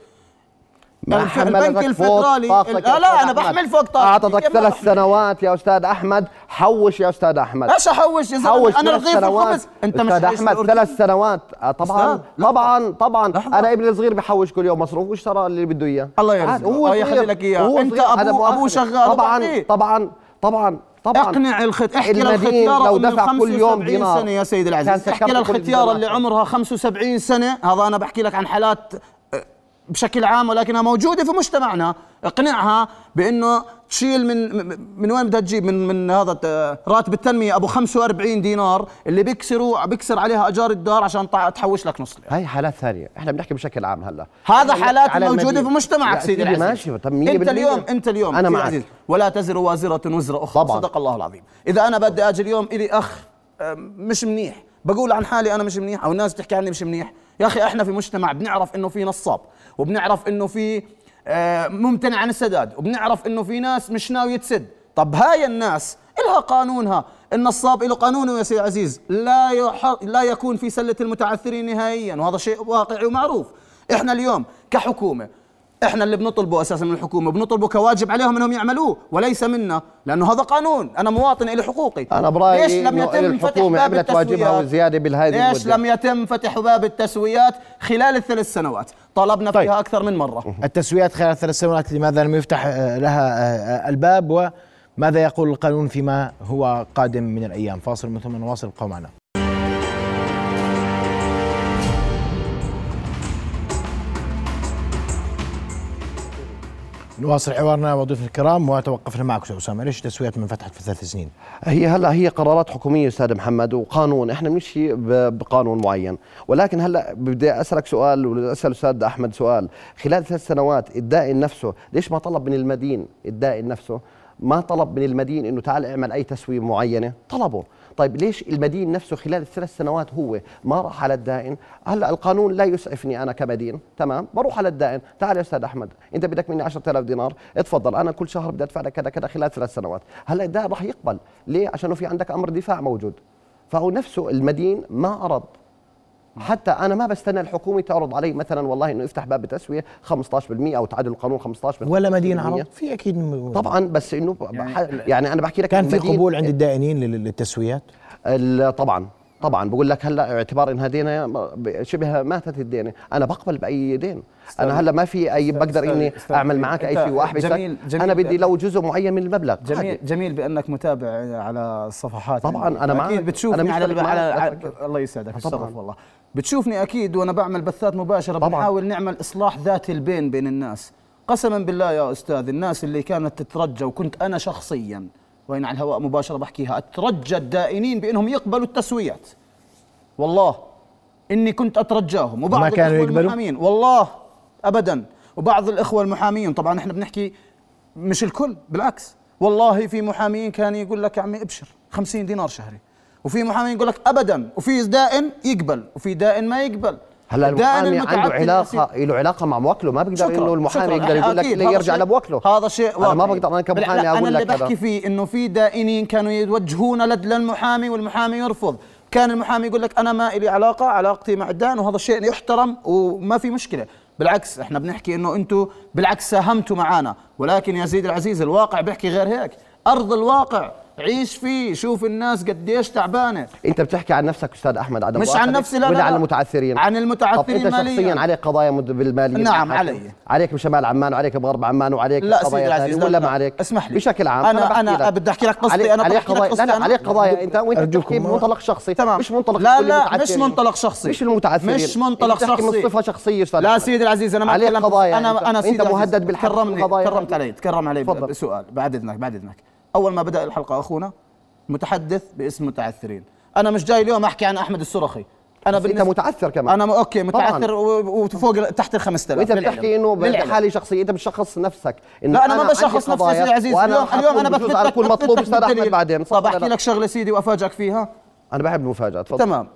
S2: ما
S4: الف-
S2: حملك
S4: البنك
S2: فوق
S4: الفدرالي-
S2: طاقتك
S4: ال-
S2: يا
S4: آه لا،
S2: أستاذ
S4: أنا
S2: أحمد.
S4: بحمل فوق طاقتي.
S2: أعطتك
S4: كيف ما
S2: ثلاث
S4: بحمل؟
S2: سنوات يا أستاذ أحمد حوش يا أستاذ أحمد
S4: ليش أحوش يا
S2: حوش
S4: زلمة أنا
S2: ثلاث
S4: رغيف
S2: سنوات
S4: الخبز أنت مش
S2: أستاذ
S4: رئيس
S2: أحمد
S4: الأردن.
S2: ثلاث سنوات آه، طبعا
S4: أستاذ، لحظة.
S2: طبعا طبعا
S4: لحظة.
S2: أنا ابني الصغير بحوش كل يوم مصروف وش ترى اللي بده إياه
S4: الله
S2: عاد،
S4: يرزقه.
S2: هو
S4: آه، يخلي
S2: صغير.
S4: لك إياه.
S2: هو
S4: أنت
S2: صغير. هذا
S4: أبوه-
S2: مؤاخذة.
S4: أبوه شغال
S2: طبعا
S4: وبعطيه.
S2: طبعا طبعا طبعاً.
S4: اقنع الخت... احكي
S2: المدين
S4: للختيارة
S2: لو
S4: أم
S2: دفع كل
S4: 75
S2: يوم دينار
S4: سنة يا سيد العزيز
S2: كان سكرت
S4: احكي
S2: كل
S4: للختيارة اللي
S2: الجماعة.
S4: عمرها 75 سنة هذا أنا بحكي لك عن حالات آه، بشكل عام ولكنها موجودة في مجتمعنا اقنعها بأنه تشيل من من- من وين بدها تجيب من من هذا الت- راتب التنمية أبو 45 دينار اللي بيكسروا بيكسر عليها أجار الدار عشان تع- تحوش لك نص ليرة
S2: هاي حالات ثانيه احنا بنحكي بشكل عام هلا
S4: هذا
S2: إحنا
S4: حالات
S2: على
S4: موجودة
S2: المدينة.
S4: في مجتمعك
S2: لا،
S4: سيدي
S2: أكيد
S4: العزيز
S2: ماشي طب 100%
S4: انت اليوم انت اليوم
S2: انا
S4: سيدي
S2: معك
S4: العزيز ولا تزر وازرة وزر أخرى
S2: طبعاً.
S4: صدق الله العظيم إذا أنا بدي أجي اليوم إلي أخ أم، مش منيح بقول عن حالي أنا مش منيح أو الناس بتحكي عني مش منيح يا أخي إحنا في مجتمع بنعرف إنه في نصاب وبنعرف إنه في آه، ممتنع عن السداد وبنعرف إنه في ناس مش ناوية تسد طب هاي الناس إلها قانونها النصاب له قانونه يا سيدي العزيز لا يح... لا يكون في سلة المتعثرين نهائيا وهذا شيء واقعي ومعروف احنا اليوم كحكومة احنا اللي بنطلبه اساسا من الحكومه بنطلبه كواجب عليهم انهم يعملوه وليس منا لانه هذا قانون انا مواطن لي حقوقي
S2: انا برايي
S4: ليش لم
S2: إنه
S4: يتم
S2: الحكومة
S4: فتح باب
S2: عملت واجبها
S4: التسويات؟
S2: وزيادة بهذه
S4: ليش
S2: المدة؟
S4: لم يتم فتح باب التسويات خلال الثلاث سنوات طلبنا
S1: طيب.
S4: فيها اكثر من مره
S1: التسويات خلال ثلاث سنوات لماذا لم يفتح آه، لها آه، آه، الباب وماذا يقول القانون فيما هو قادم من الأيام فاصل من ثم نواصل ابقوا معنا نواصل حوارنا وضيوف الكرام وتوقفنا معك استاذ اسامه ليش التسويات ما فتحت في ثلاث سنين؟
S2: هي هلا هي قرارات حكوميه استاذ محمد وقانون احنا بنمشي ب- بقانون معين ولكن هلا بدي اسالك سؤال واسال استاذ احمد سؤال خلال ثلاث سنوات الدائن نفسه ليش ما طلب من المدين الدائن نفسه ما طلب من المدين انه تعال اعمل اي تسويه معينه طلبه طيب ليش المدين نفسه خلال الثلاث سنوات هو ما راح على الدائن هلا القانون لا يسعفني انا كمدين تمام بروح على الدائن تعال يا استاذ احمد انت بدك مني 10000 دينار اتفضل انا كل شهر بدي ادفع لك كذا كذا خلال ثلاث سنوات هلا الدائن راح يقبل ليه عشانه في عندك امر دفاع موجود فهو نفسه المدين ما اراد حتى انا ما بستنى الحكومه تعرض علي مثلا والله انه يفتح باب التسويه 15% او تعدل القانون 15
S1: ولا مدينة
S2: 20%.
S1: عرب؟ في أكيد م-
S2: طبعا بس انه يعني, يعني انا بحكي لك
S1: كان في
S2: المدين-
S1: قبول عند الدائنين لل- للتسويات؟
S2: ال- طبعا طبعا بقول لك هلا اعتبار ان هدينا ب- شبه ماتت الدينه انا بقبل باي دين انا هلا ما في اي بقدر اني
S4: أستاذ
S2: اعمل
S4: كريم،
S2: معك اي
S4: إيه، أنت
S2: شيء واحبسك
S4: جميل- جميل
S2: انا بدي
S4: بأن-
S2: لو جزء معين من المبلغ
S4: جميل
S2: عادي.
S4: جميل بانك متابع على الصفحات
S2: طبعاً،
S4: يعني.
S2: أنا معك.
S4: اكيد بتشوفني
S2: أنا
S4: على,
S2: مشترك
S4: الب- على,
S2: معك، لا
S4: على
S2: تفكر.
S4: الله يسعدك الشرف
S2: طبعاً.
S4: والله بتشوفني اكيد وانا بعمل بثات مباشره
S2: طبعاً.
S4: بنحاول نعمل اصلاح ذاتي البين بين الناس قسما بالله يا استاذ الناس اللي كانت تترجى وكنت انا شخصيا وين على الهواء مباشره بحكيها اترجى الدائنين بانهم يقبلوا التسويات والله اني كنت اترجاهم وبعض
S1: ما كانوا
S4: الإخوة
S1: يقبلوا؟
S4: المحامين والله ابدا وبعض الاخوه المحامين طبعا احنا بنحكي مش الكل بالعكس والله في محامين كان يقول لك يا عمي ابشر 50 دينار شهري وفي محامين يقول لك ابدا وفي دائن يقبل وفي دائن ما يقبل
S2: هلا
S4: الدائن
S2: المحامي عنده
S4: المتعدد
S2: علاقه له علاقه مع موكله ما بيقدر
S4: شكراً،
S2: انه المحامي
S4: شكراً.
S2: يقدر يقول لك
S4: أكيد،
S2: ليه
S4: هذا
S2: يرجع
S4: شيء-
S2: لموكله
S4: هذا شيء
S2: انا ما
S4: واقعي.
S2: بقدر انا
S4: لا،
S2: كمحامي
S4: لا،
S2: اقول لك
S4: انا اللي
S2: هذا
S4: بحكي فيه انه في دائنين كانوا يوجهون لد للمحامي والمحامي يرفض كان المحامي يقول لك انا ما لي علاقه علاقتي مع الدائن وهذا الشيء يحترم وما في مشكله بالعكس احنا بنحكي انه انتم بالعكس ساهمتوا معنا ولكن يا زيد العزيز الواقع بيحكي غير هيك ارض الواقع عيش فيه شوف الناس قديش تعبانه
S2: انت بتحكي عن نفسك استاذ احمد عدم
S4: مش عن
S2: مؤاخذة،
S4: نفسي، لا،
S2: ولا
S4: لا،
S2: عن
S4: لا.
S2: المتعثرين
S4: عن المتعثرين
S2: طب انت
S4: مالياً.
S2: شخصيا عليك قضايا مد- بالماليه
S4: نعم،
S2: بالحاكم.
S4: علي.
S2: عليك بشمال عمان وعليك بغرب عمان وعليك
S4: لا
S2: قضايا
S4: سيدي العزيز
S2: ثانية،
S4: لا
S2: ولا
S4: لا.
S2: ما عليك
S4: اسمح لي
S2: بشكل عام
S4: أنا-
S2: بحكي
S4: أنا
S2: لك.
S4: بدي أحكي لك قصتي،
S2: عليك-
S4: أنا
S2: عليك
S4: بحكي لك
S2: قضايا لا لا
S4: قصتي
S2: عليك
S4: أنا.
S2: قضايا انت وانت
S1: أرجوكم.
S2: بتحكي بمنطلق شخصي
S4: تمام.
S2: مش منطلق
S4: لا
S2: كل
S4: لا مش
S2: المتعثرين.
S4: منطلق شخصي
S2: مش المتعثرين يعني
S4: مش منطلق
S2: انت بتحكي
S4: شخصي
S2: من صفه شخصيه استاذ
S4: لا
S2: أحمد.
S4: سيدي العزيز انا ما
S2: عليك
S4: تكلمت-
S2: قضايا
S4: انا انا سيدي
S2: انت
S4: العزيز،
S2: مهدد بالحق في
S4: كرمني
S2: القضايا
S4: كرمت علي تكرم علي
S2: تفضل.
S4: بسؤال بعد اذنك بعد اذنك اول ما بدا الحلقه اخونا متحدث باسم متعثرين انا مش جاي اليوم احكي عن احمد السرخي انا
S2: بس انت
S4: بالنسبة-
S2: متعثر كمان
S4: انا م- اوكي متعثر و- وفوق ال- تحت ال 5000
S2: وانت
S4: للعلم.
S2: بتحكي انه
S4: للعلم.
S2: بحاله شخصيه انت بتشخص نفسك إن
S4: لا انا ما
S2: عندي
S4: بشخص نفسي يا
S2: قضايا
S4: سيدي العزيز
S2: وانا
S4: اليوم اليوم انا
S2: بجوز
S4: بثبت
S2: على
S4: لك
S2: كل
S4: بثبت
S2: مطلوب
S4: لك
S2: استاذ احمد
S4: بالدليل.
S2: بعدين صح
S4: طب
S2: ولا
S4: احكي
S2: لا؟
S4: لك شغله سيدي وافاجئك فيها
S2: انا بحب المفاجاه تفضل
S4: تمام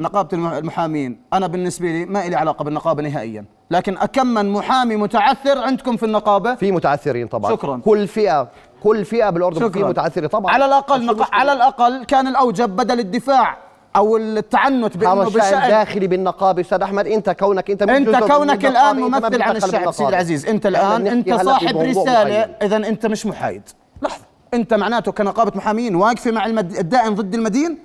S4: نقابة الم- المحامين أنا بالنسبة لي ما إلي علاقة بالنقابة نهائيا لكن أكم من محامي متعثر عندكم في النقابة
S2: في متعثرين طبعا
S4: شكراً.
S2: كل فئه كل فئه بالاردن في متعثرين طبعا
S4: على الأقل
S2: مش
S4: نق...
S2: مشكلة.
S4: على الأقل كان الأوجب بدل الدفاع أو التعنت
S2: هذا
S4: بأنه
S2: الشأن
S4: بالشأن
S2: الداخلي بالنقابه استاذ احمد انت كونك انت مش
S4: انت
S2: جزء من
S4: كونك
S2: النقابة،
S4: الان
S2: أنت ما
S4: ممثل عن
S2: بتدخل
S4: الشعب سيدي
S2: بالنقابة.
S4: العزيز انت
S2: إحنا
S4: الان
S2: بنحكي
S4: انت
S2: هلا في
S4: صاحب
S2: موضوع
S4: رساله
S2: معين.
S4: اذا انت مش محايد لحظه انت معناته كنقابه محامين واقفه مع المد... الدائن ضد المدين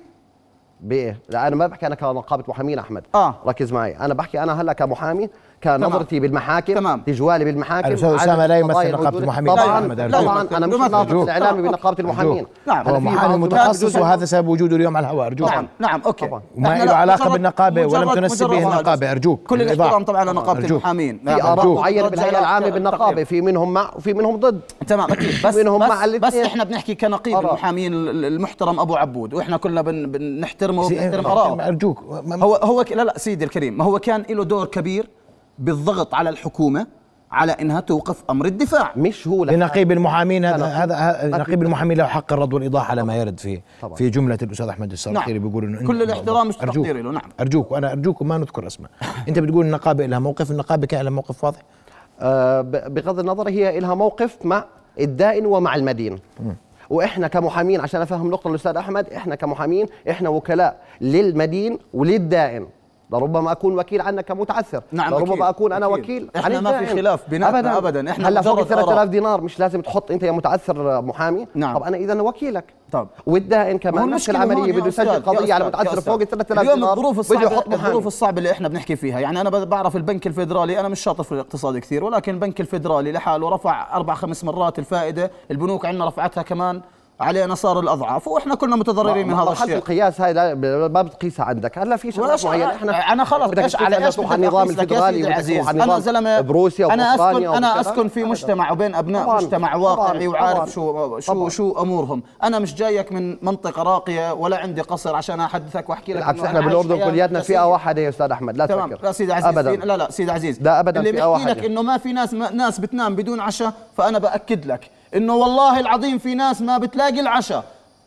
S2: بايه؟ لا انا ما بحكي انا كنقابه محامين احمد
S4: آه.
S2: ركز معي انا بحكي انا هلا كمحامي كان
S4: تمام.
S2: نظرتي بالمحاكم
S4: تمام.
S2: تجوالي بالمحاكم
S1: الأستاذ
S2: عدد
S1: أسامة لا يمثل
S2: القضايا
S1: نقابة
S2: الموجودة.
S1: المحامين
S2: طبعا
S1: أحمد أرجو.
S2: طبعا انا مش
S4: أرجو.
S2: الناقد
S4: أرجو.
S2: الاعلامي
S4: نعم.
S2: بنقابه المحامين
S4: نعم.
S2: أنا
S1: هو
S2: في
S1: محامي
S2: بعض
S1: متخصص
S2: الجزء-
S1: وهذا سبب وجوده اليوم على الهواء أرجوك
S4: نعم نعم اوكي
S2: طبعاً.
S1: وما له
S4: إحنا لا-
S1: علاقة
S4: مجرد-
S1: بالنقابة ولم
S4: مجرد-
S1: تنسب
S4: مجرد
S1: به
S4: هذا.
S1: النقابة، أرجوك.
S4: كل
S1: بالإيضاح.
S4: الاحترام طبعا لنقابه
S1: أرجوك.
S4: المحامين
S2: في
S4: نعم.
S2: اراء
S4: أرجوك.
S2: معينه
S4: رجع
S2: بالهيئه
S4: إلى
S2: العامه
S4: التقرير.
S2: بالنقابه في منهم مع وفي منهم ضد
S4: تمام اكيد بس
S2: منهم
S4: بس,
S2: مع
S4: بس
S2: الاثنين.
S4: احنا بنحكي كنقيب
S2: آراء.
S4: المحامين ال- المحترم ابو عبود واحنا كلنا بن- بنحترمه وبنحترم اراءه
S1: أرجوك ما-
S4: هو هو ك- لا لا سيدي الكريم ما هو كان له دور كبير بالضغط على الحكومه على انها توقف امر الدفاع
S2: مش هو لحاله.
S1: لنقيب المحامين هذا هذا هذا- نقيب
S2: أكيد.
S1: المحامين له حق الرد والايضاح على ما يرد في
S2: طبعاً.
S1: في جمله الاستاذ احمد السرقيري
S4: نعم.
S1: بيقول انه
S4: كل
S1: إنه-
S4: الاحترام مش
S1: أرجوك.
S4: تقديري له، نعم.
S1: ارجوك وانا ارجوك ما نذكر اسماء انت بتقول النقابه لها موقف النقابه كان لها موقف واضح
S2: آه، ب- بغض النظر هي لها موقف مع الدائن ومع المدين واحنا كمحامين عشان افهم نقطه الاستاذ احمد احنا كمحامين احنا وكلاء للمدين وللدائن لربما اكون وكيل عنك كمتعثر
S4: نعم،
S2: لربما
S4: أكيد،
S2: اكون انا
S4: أكيد.
S2: وكيل
S4: إحنا
S2: عن
S4: ما في
S2: الدائن.
S4: خلاف بيناتنا أبداً، إحنا
S2: هلا فوق
S4: مجرد
S2: 3000
S4: آراء.
S2: دينار مش لازم تحط انت يا متعثر آه، محامي
S4: نعم.
S2: طب انا اذا وكيلك
S4: طب.
S2: والدائن كمان نفس
S4: المشكلة هون
S2: العمليه
S4: يا
S2: بده
S4: أستاذ-
S2: يسجل
S4: يا
S2: قضيه على
S4: أستاذ-
S2: متعثر
S4: يا
S2: فوق
S4: أستاذ.
S2: ال 3000
S4: اليوم
S2: دينار
S4: الظروف
S2: بده يحط
S4: الصعبة
S2: محامي
S4: الظروف الصعبة اللي احنا بنحكي فيها يعني أنا ب- بعرف البنك الفيدرالي أنا مش شاطر في الاقتصاد كثير ولكن البنك الفيدرالي لحاله رفع أربع خمس مرات الفائدة البنوك عندنا رفعتها كمان علينا صار الأضعاف وإحنا كلنا متضررين من هذا
S2: مرحلة
S4: الشيء
S2: القياس هاي لا- ما بتقيسها عندك هلا في شغلات
S4: وإيش-
S2: معينه احنا
S4: انا خلص
S2: بدك
S4: ايش
S2: تشوف
S4: على
S2: بدك
S4: ايش
S2: تروح
S4: بدك
S2: على النظام
S4: أقيس لك يا
S2: الفيدرالي
S4: سيدي
S2: وبدك
S4: العزيز؟
S2: تروح على
S4: انا
S2: النظام
S4: زلمه
S2: بروسيا
S4: انا اسكن
S2: وأوكرانيا
S4: انا
S2: وبالكذا.
S4: اسكن في
S2: أبداً.
S4: مجتمع وبين ابناء
S2: طبعاً.
S4: مجتمع
S2: طبعاً.
S4: واقعي
S2: طبعاً.
S4: وعارف شو شو
S2: طبعاً.
S4: شو امورهم انا مش جايك من منطقه راقيه ولا عندي قصر عشان احدثك واحكي لك
S2: بالعكس
S4: إنه
S2: احنا
S4: أنا عايش
S2: بالاردن
S4: حياة
S2: كلياتنا
S4: قاسية.
S2: فئه واحده يا استاذ احمد لا
S4: تمام
S2: تفكر
S4: لا سيدي عزيز
S2: ابدا
S4: في- لا لا سيدي عزيز
S2: لا، أبداً
S4: اللي
S2: في يعني.
S4: بيحكي
S2: أواحد.
S4: لك انه ما في ناس ما ناس بتنام بدون عشاء فانا باكد لك انه والله العظيم في ناس ما بتلاقي العشاء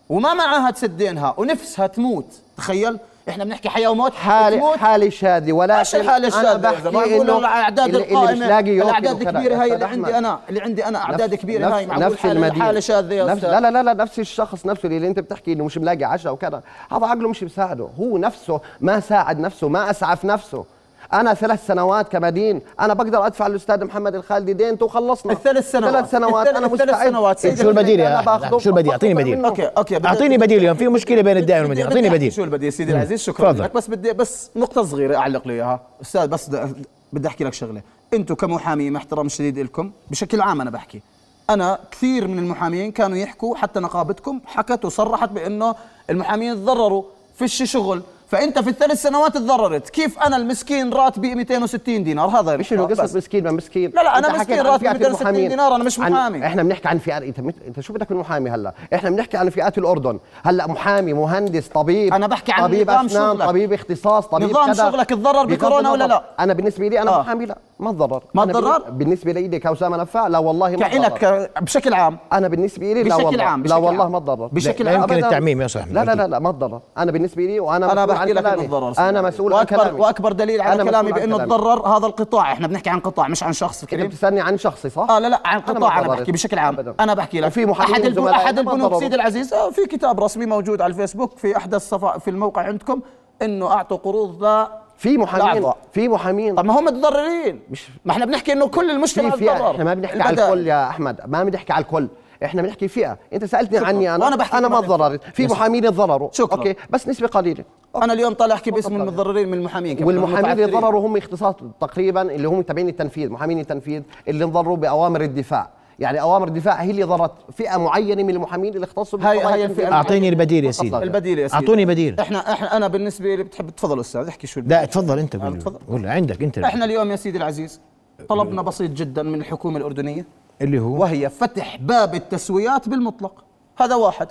S4: وما معها تسدينها ونفسها تموت تخيل احنا بنحكي حياه وموت
S2: حالة
S4: تموت.
S2: حالة شاذة ولا
S4: ماشي الحال الشاذ
S2: أنا بحكي إنه
S4: الاعداد
S2: اللي-
S4: القائمه
S2: اللي مش لاقي يوكل
S4: الاعداد
S2: وكذا.
S4: الكبيره هاي
S2: أستاذ
S4: اللي
S2: أحمد،
S4: عندي انا اللي عندي انا اعداد
S2: نفس-
S4: كبيره هاي
S2: نفس-
S4: معقول
S2: نفس
S4: حالة-
S2: المدينة.
S4: حاله شاذه يا
S2: نفس
S4: أستاذ.
S2: لا لا لا لا نفس الشخص نفسه اللي انت بتحكي انه مش ملاقي عشاء وكذا هذا عقله مش مساعده هو نفسه ما ساعد نفسه ما اسعف نفسه انا ثلاث سنوات كمدين انا بقدر ادفع للاستاذ محمد الخالدي دينته وخلصنا
S4: الثلاث سنوات.
S2: ثلاث سنوات
S4: الثلاث-
S2: انا
S4: الثلاث
S2: مستعد
S4: سنوات. سيدي
S1: شو البديل يا
S2: أنا
S1: أحمد؟
S2: باخده-
S1: شو البديل اعطيني
S2: باخده
S1: بديل
S2: منه.
S4: اوكي اوكي بدي-
S1: اعطيني بديل اليوم في مشكله بين الدائن والمدين
S4: بدي-
S1: اعطيني
S4: بدي-
S1: بديل
S4: شو البديل سيدي العزيز شكرا
S1: تفضل.
S4: لك بس بدي بس نقطة صغيرة أعلق لي إياها أستاذ بس بدي- بدي أحكي لك شغلة أنتم كمحامي مع احترام شديد لكم بشكل عام أنا بحكي أنا كثير من المحامين كانوا يحكوا حتى نقابتكم حكت وصرحت بأنه المحامين تضرروا فيش شغل فأنت في الثلاث سنوات تضررت كيف أنا المسكين راتبي 260 دينار هذا
S2: مش انه
S4: آه، بس.
S2: قصه مسكين ما مسكين
S4: لا، لا،
S2: أنت
S4: أنا
S2: حكيت
S4: مسكين
S2: عن
S4: راتبي
S2: فئة
S4: 260
S2: المحامين.
S4: دينار، أنا مش
S2: عن-
S4: محامي.
S2: احنا بنحكي عن فئات انت مت- انت شو بدك من محامي هلا احنا بنحكي عن فئات الاردن هلا محامي مهندس طبيب
S4: أنا بحكي عن
S2: طبيب
S4: نظام
S2: أسنان،
S4: شغلك.
S2: طبيب اختصاص طبيب
S4: نظام
S2: كذا.
S4: شغلك اتضرر
S2: بغض
S4: بكورونا ولا
S2: النظر.
S4: لا؟
S2: انا بالنسبه لي انا
S4: آه.
S2: محامي لا ما اتضرر
S4: ما
S2: أنا بالن-
S4: اتضرر؟
S2: بالنسبه لي كأسامة نفاع لا والله ما
S4: كعلك
S2: اتضرر.
S4: ك- بشكل عام
S2: انا بالنسبه لي لا
S4: بشكل
S2: والله
S4: عام،
S2: لا
S4: بشكل
S2: والله
S4: عام.
S2: ما اتضرر
S4: بشكل
S2: لا،
S4: عام.
S2: لا،
S1: يمكن
S2: أبداً.
S1: التعميم يا أستاذ أحمد،
S2: لا لا
S1: أكيد.
S2: لا لا ما اتضرر انا بالنسبه لي وانا مسؤول عن
S4: انا بحكي لك
S2: كلامي.
S4: انه تضرر صديقي.
S2: انا مسؤول عن
S4: واكبر
S2: كلامي
S4: واكبر دليل
S2: أنا
S4: على
S2: مسؤول
S4: كلامي
S2: عن
S4: بانه
S2: كلامي.
S4: تضرر هذا القطاع احنا بنحكي عن قطاع مش عن شخص
S2: انت
S4: الكريم
S2: بتسالني عن شخصي صح؟
S4: اه لا لا عن
S2: ما
S4: قطاع انا,
S2: ضررت.
S4: بحكي بشكل عام
S2: أبداً.
S4: انا بحكي لك
S2: وفي محامين
S4: احد البنوك
S2: زملائي
S4: احد
S2: ما
S4: البنوك
S2: ضرروا.
S4: سيدي العزيز آه في كتاب رسمي موجود على الفيسبوك في احدى الصفا في الموقع عندكم انه اعطوا قروض لا
S2: في محامين
S4: لأعضاء.
S2: في محامين
S4: طب ما هم متضررين
S2: مش-
S4: ما احنا بنحكي انه كل المجتمع
S2: في فئه
S4: تضرر.
S2: احنا ما بنحكي على
S4: البدائل.
S2: الكل يا احمد ما بنحكي على الكل احنا بنحكي فئه انت سالتني
S4: شكراً.
S2: عني انا
S4: وأنا بحكي
S2: انا ما
S4: كمان.
S2: تضررت في محامين تضرروا
S4: شكراً.
S2: اوكي بس نسبه قليله
S4: انا اليوم طالع احكي باسم
S2: تفضل.
S4: المتضررين من المحامين كمان،
S2: والمحامين اللي
S4: المتعثرين.
S2: ضرروا هم اختصاص تقريبا اللي هم تابعين التنفيذ محامين التنفيذ اللي انضروا باوامر الدفاع يعني اوامر الدفاع هي اللي ضرت فئه معينه من المحامين اللي اختصوا
S4: هاي-
S2: بقضايا
S4: هاي
S2: التنفيذ.
S4: الفئة.
S1: اعطيني البديل يا سيدي
S4: البديل يا سيدي
S1: اعطوني بديل
S4: احنا احنا انا بالنسبه لي بتحب تفضل استاذ احكي شو
S1: لا تفضل انت
S4: آه،
S1: قول
S4: تفضل.
S1: قول عندك انت
S4: احنا اليوم يا سيدي العزيز طلبنا بسيط جدا من الحكومه الاردنيه
S1: اللي هو
S4: وهي فتح باب التسويات بالمطلق هذا واحد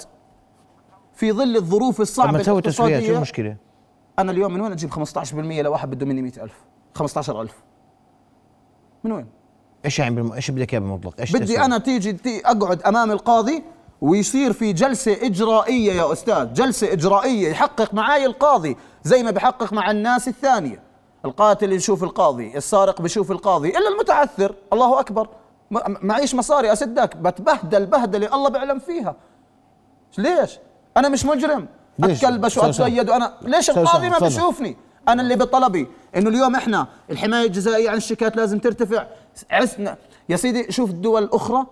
S4: في ظل الظروف الصعبه
S1: لما تسوي تسويات شو
S4: الاقتصادية،
S1: المشكله؟
S4: انا اليوم من وين اجيب 15% لواحد بده مني 100000 15000 من وين
S1: ايش يعني بالم- ايش بدك اياه بالمطلق؟ ايش
S4: بدي
S1: تسوي؟
S4: انا تيجي تي اقعد امام القاضي ويصير في جلسة إجرائية يا أستاذ جلسة إجرائية يحقق معاي القاضي زي ما بحقق مع الناس الثانية القاتل يشوف القاضي السارق بشوف القاضي إلا المتعثر الله أكبر م- معيش مصاري أسدك بتبهدل بهدلة الله بعلم فيها ليش أنا مش مجرم
S1: ليش؟
S4: أتكلبش
S1: أستاذ سامي.
S4: وأتزيد وأنا ليش
S1: أستاذ
S4: القاضي ما
S1: سامي، تفضل.
S4: بشوفني أنا اللي بطلبي إنه اليوم إحنا الحماية الجزائية عن الشيكات لازم ترتفع عسنا يا سيدي شوف الدول الأخرى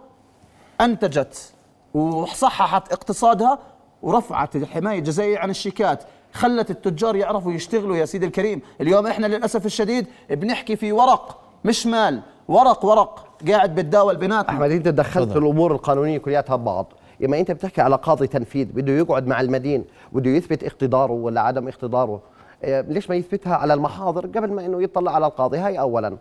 S4: أنتجت وصححت اقتصادها ورفعت الحماية الجزائية عن الشيكات خلت التجار يعرفوا يشتغلوا يا سيدي الكريم اليوم احنا للاسف الشديد بنحكي في ورق مش مال ورق ورق قاعد بتداول بيناتنا
S2: احمد انت دخلت الامور القانونيه كلياتها ببعض اما انت بتحكي على قاضي تنفيذ بده يقعد مع المدين بده يثبت اقتداره ولا عدم اقتداره إيه، ليش ما يثبتها على المحاضر قبل ما انه يطلع على القاضي هاي اولا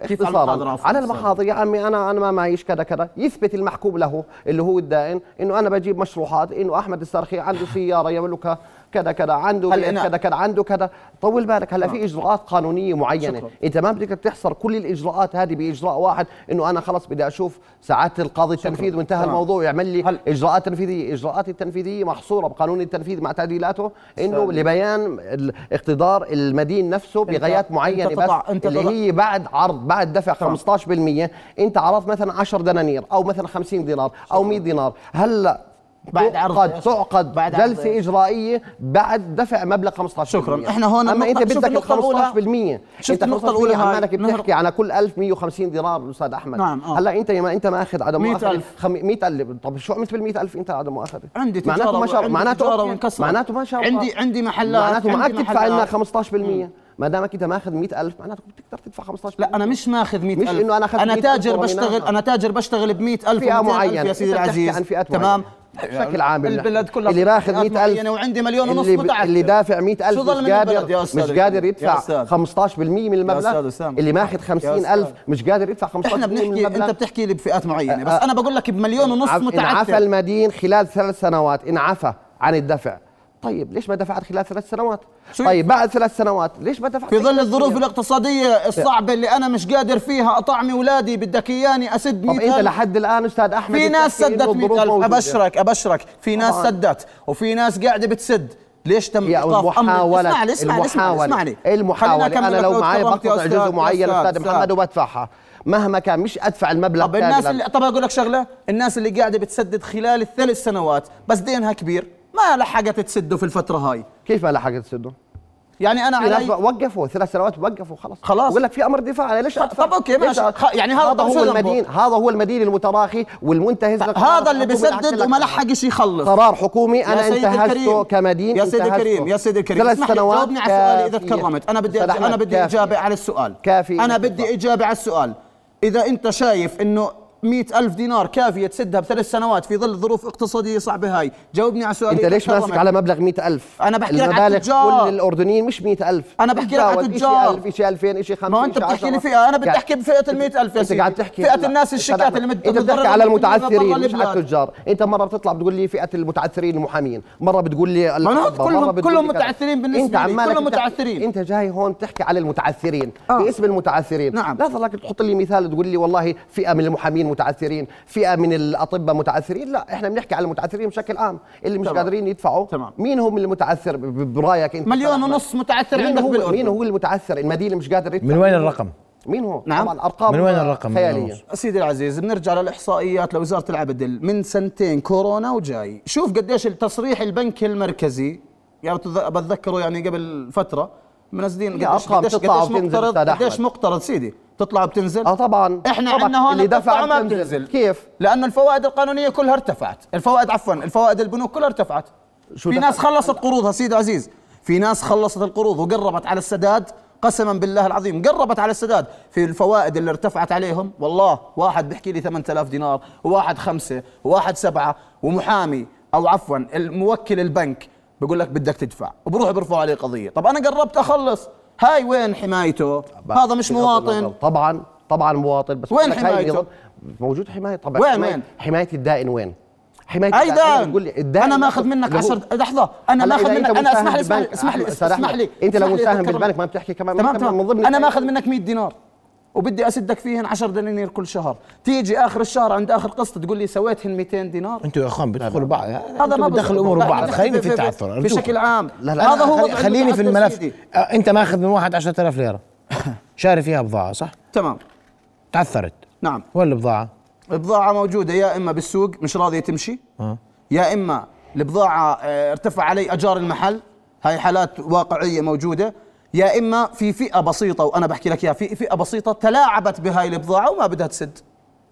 S4: كيف على
S2: اختصاراً.
S4: المحاضر عفواً؟
S2: على المحاضر يا عمي انا انا ما معيش كذا كذا يثبت المحكوم له اللي هو الدائن انه انا بجيب مشروحات انه احمد السرخي عنده سياره يملكها كذا كذا عنده
S4: هلا
S2: بيت
S4: أنا- آه.
S2: كذا كذا عنده كذا طول بالك هلا في اجراءات قانونيه معينه
S4: شكراً.
S2: انت ما بدك تحصر كل الاجراءات هذه باجراء واحد انه انا خلص بدي اشوف ساعات القاضي التنفيذ وانتهى
S4: تمام.
S2: الموضوع يعمل لي
S4: هل-
S2: اجراءات تنفيذيه اجراءات التنفيذيه محصوره بقانون التنفيذ مع تعديلاته انه
S4: أستاذ.
S2: لبيان ال- اقتدار المدين نفسه بغايات معينه
S4: أنت
S2: بس
S4: تضع- أنت
S2: اللي
S4: تضع-
S2: هي بعد عرض بعد دفع 15% انت عرضت مثلا 10 دنانير او مثلا 50 دينار او 100 دينار هلا
S4: بعد عرض
S2: تعقد
S4: إيش؟
S2: تعقد
S4: بعد عرض
S2: جلسه
S4: إيش؟
S2: اجرائيه بعد دفع مبلغ 15%
S4: شكراً. إحنا هون
S2: اما
S4: النقطة-
S2: انت
S4: شوف
S2: بدك ال
S4: النقطة الأولى.
S2: 15%
S4: شفت
S2: انت
S4: النقطة الأولى
S2: 15%
S4: هاي؟
S2: عمالك
S4: نهر-
S2: بتحكي على كل 1150 دينار استاذ احمد
S4: نعم، آه.
S2: هلا انت ما انت ماخذ عدم
S4: 100,000.
S2: 100000 طب شو عملت بال 100000 انت عدم مؤاخذه
S4: عندي تجارة
S2: معناته ما شر
S4: وعندي تجارة وانكسرت.
S2: معناته معناته ما شر
S4: عندي- عندي محلات،
S2: معناته معك
S4: عندي
S2: تدفع لنا
S4: محلات.
S2: 15% ما دامك انت ماخذ 100000 معناته بتقدر تدفع 15%
S4: لا انا مش ماخذ 100
S2: مش إنه أنا أخذت
S4: انا
S2: 100,000
S4: تاجر
S2: ورميناها.
S4: بشتغل انا تاجر بشتغل ب 100000
S2: فئه معينه
S4: يا سيدي
S2: أنت بتحكي
S4: العزيز
S2: عن فئات
S4: تمام
S2: معينة. بشكل عام
S4: البلد كلها
S2: اللي
S4: فئات
S2: باخذ 100000
S4: معينة وعندي مليون ونص
S2: اللي ب-
S4: متعثر.
S2: اللي دافع
S4: شو
S2: 100000
S4: ظل من
S2: مش
S4: البلد يا
S2: قادر
S4: أستاذ
S2: مش قادر
S4: يا
S2: يدفع
S4: أستاذ.
S2: 15% من
S4: أستاذ
S2: المبلغ
S4: أسامة.
S2: اللي ماخذ
S4: يا أستاذ.
S2: 50000 مش قادر يدفع 15%
S4: احنا
S2: من
S4: بنحكي
S2: المبلغ آه.
S4: انت بتحكي لي بفئات معينه بس انا بقول لك بمليون ونص
S2: عف- انعفى
S4: متعثر
S2: المدين خلال ثلاث سنوات انعفى عن الدفع طيب ليش ما دفعت خلال ثلاث سنوات
S4: شو
S2: طيب بعد ثلاث سنوات ليش ما دفعت
S4: في ظل
S2: خلال
S4: الظروف
S2: سنة؟
S4: الاقتصاديه الصعبه اللي انا مش قادر فيها اطعمي اولادي بدك اياني اسد
S2: طب انت
S4: 100000.
S2: لحد الان استاذ احمد
S4: في
S2: أنت
S4: ناس
S2: بتحكي إنه
S4: سدت 100
S2: الظروف
S4: ألف
S2: موجودة.
S4: أبشرك أبشرك في ناس
S2: طبعاً.
S4: سدت وفي ناس قاعدة بتسد ليش تم
S2: هي
S4: إيقاف أمر
S2: المحاولة
S4: اسمعني اسمعني اسمعني
S2: المحاولة
S4: اسمعني
S2: المحاولة
S4: خليني أكمل
S2: أنا
S4: لك
S2: لو معي
S4: تكرمت يا
S2: بقطع
S4: أستاذ،
S2: جزء
S4: يا
S2: معين أستاذ محمد
S4: أستاذ.
S2: وبدفعها مهما كان مش أدفع المبلغ
S4: طب الناس
S2: كاملاً.
S4: اللي طب أقول لك شغلة الناس اللي قاعدة بتسدد خلال الثلاث سنوات بس دينها كبير ما لحقت تسده في الفترة هاي
S2: كيف ما لحقت تسده؟
S4: يعني أنا
S2: في ناس
S4: علي
S2: وقفوا ثلاث سنوات وقفوا خلاص
S4: خلاص.
S2: بقول لك في امر دفاع انا ليش
S4: طب-
S2: ادفع؟
S4: طب أوكي، ماشي.
S2: ليش أ-
S4: خ- يعني هذا طب شو
S2: هو
S4: ذنبه؟
S2: المدين هذا هو المدين المتراخي والمنتهز
S4: هذا اللي
S2: حكومي
S4: بسدد
S2: عكس
S4: وما
S2: لك.
S4: لحقش يخلص
S2: قرار حكومي انا
S4: سيدي
S2: انتهزته
S4: الكريم،
S2: كمدين
S4: يا سيدي
S2: انتهزته.
S4: الكريم يا سيدي الكريم
S2: ثلاث
S4: اسمح لي
S2: سنوات
S4: جاوبني على سؤالي اذا
S2: كافية.
S4: تكرمت انا بدي
S2: أستاذ أحمد،
S4: انا بدي
S2: كافية.
S4: اجابه على السؤال
S2: كافي
S4: انا
S2: إنك
S4: بدي
S2: تفضل.
S4: اجابه على السؤال اذا انت شايف انه مئة ألف دينار كافية تسدها بثلاث سنوات في ظل ظروف اقتصادية صعبة هاي جاوبني على سؤالي
S2: انت
S4: إذا
S2: ليش ماسك
S4: تكرمت.
S2: على مبلغ 100000
S4: أنا بحكي لك على
S2: المبالغ
S4: التجار.
S2: كل الاردنيين مش 100000
S4: أنا بحكي لك على التجار.
S2: شيء 1000 شيء 2000 شيء 5
S4: ما هو أنت بتحكي لي فئة، أنا بدي أحكي بفئة المئة ألف يا
S2: انت
S4: سيدي.
S2: قاعد تحكي
S4: فئة
S2: هلا.
S4: الناس
S2: أستاذ
S4: الشكاة
S2: أحمد،
S4: اللي مت-
S2: انت بتحكي
S4: متضررة
S2: على
S4: من-
S2: المتعثرين
S4: برا
S2: مش على
S4: البلاد.
S2: التجار انت مرة بتطلع بتقول لي فئة المتعثرين المحامين مرة بتقول لي
S4: ما أنا
S2: الحبة،
S4: كلهم-
S2: مرة بتقول
S4: كلهم
S2: لي كذا.
S4: متعثرين بالنسبة
S2: أنت
S4: لي،
S2: عمالك
S4: كلهم
S2: بتحكي-
S4: متعثرين.
S2: انت جاي هون بتحكي على المتعثرين
S4: آه.
S2: باسم المتعثرين
S4: نعم.
S2: لا ظلك تحط لي مثال تقول لي والله فئه من المحامين متعثرين فئه من الاطباء متعثرين لا احنا بنحكي على المتعثرين بشكل عام اللي مش
S4: تمام.
S2: قادرين يدفعوا
S4: تمام.
S2: مين هم اللي متعثر ب- ب- برايك انت
S4: مليون
S2: أحمد؟
S4: ونص متعثر
S2: مين
S4: عندك
S2: هو
S4: بالأردن.
S2: مين هو المتعثر المدينه مش قادر يدفع
S1: من وين الرقم؟
S2: مين هو
S4: نعم.
S2: طبعا ارقام
S1: من وين الرقم؟ مليون
S2: خياليه
S1: ونص.
S4: سيدي العزيز بنرجع للاحصائيات لوزاره العبدل من سنتين كورونا وجاي شوف قديش التصريح البنك المركزي يعني بتذ- بتذكره يعني قبل فتره منزلين
S2: يا أرقام بتطلع وبتنزل
S4: مقترض
S2: أستاذ أحمد.
S4: قديش مقترض سيدي تطلع بتنزل
S2: اه طبعا
S4: احنا
S2: طبعا
S4: عندنا هون
S2: اللي دفع
S4: ما
S2: بتنزل.
S4: بتنزل
S2: كيف
S4: لانه الفوائد القانونيه كلها ارتفعت الفوائد عفوا الفوائد البنوك كلها ارتفعت
S2: شو
S4: في
S2: دخل؟
S4: ناس خلصت قروضها سيدي عزيز في ناس خلصت القروض وقربت على السداد قسما بالله العظيم قربت على السداد في الفوائد اللي ارتفعت عليهم والله واحد بيحكي لي 8000 دينار وواحد خمسة وواحد سبعة ومحامي أو عفوا الموكل البنك بقول لك بدك تدفع وبروح برفعوا عليه قضية طب أنا قربت أخلص هاي وين حمايته هذا مش
S2: بغض
S4: مواطن
S2: النظر. طبعا طبعا مواطن بس
S4: وين
S2: بقول لك هاي
S4: حمايته؟
S2: النظام- موجود حمايه طبعا
S4: وين-
S2: حماية-
S4: وين؟
S2: حمايه الدائن وين؟ حمايه
S4: اي دان
S2: بتقول لي الدائن
S4: انا ماخذ منك
S2: اللي هو-
S4: 10 لحظه انا
S2: هلا
S4: ماخذ
S2: إذا أنت
S4: منك انا
S2: مساهم
S4: اسمح لي اسمح لي
S2: بالبنك،
S4: اسمح لي
S2: أحمد، أستاذ
S4: اسمح
S2: أحمد،
S4: لي
S2: انت لو
S4: اسمح لي
S2: مساهم
S4: أتذكر
S2: بالبنك
S4: رأيك.
S2: ما بتحكي كمان
S4: تمام
S2: ممكن من
S4: تمام
S2: ضمن إيه؟
S4: انا
S2: الحاجات.
S4: ماخذ منك 100 دينار وبدي اسدك فيهن 10 دنانير كل شهر تيجي اخر الشهر عند اخر قسط تقول لي سويتهن 200 دينار
S1: انتوا يا اخوان بتدخلوا بعض
S4: هذا ما
S1: بدخل
S4: بزبط.
S1: امور
S4: لا،
S1: بعض
S4: بدخل
S1: خليني في
S4: في-
S1: التعثر
S4: في
S1: أرجوك.
S4: شكل عام
S2: لا، لا،
S4: هذا هو
S1: خلي-
S4: وضع
S1: خليني في
S4: المتعثر
S1: الملف
S4: سيدي.
S1: آه، انت ماخذ من واحد 10000 ليره شاري فيها بضاعه صح؟
S4: تمام
S1: تعثرت
S4: نعم
S1: وين البضاعه؟
S4: البضاعة موجودة يا إما بالسوق مش راضية تمشي
S1: آه.
S4: يا إما البضاعة آه، ارتفع علي أجار المحل هاي حالات واقعية موجودة يا إما في فئة بسيطة وأنا بحكي لك إياها في فئة بسيطة تلاعبت بهاي البضاعة وما بدها تسد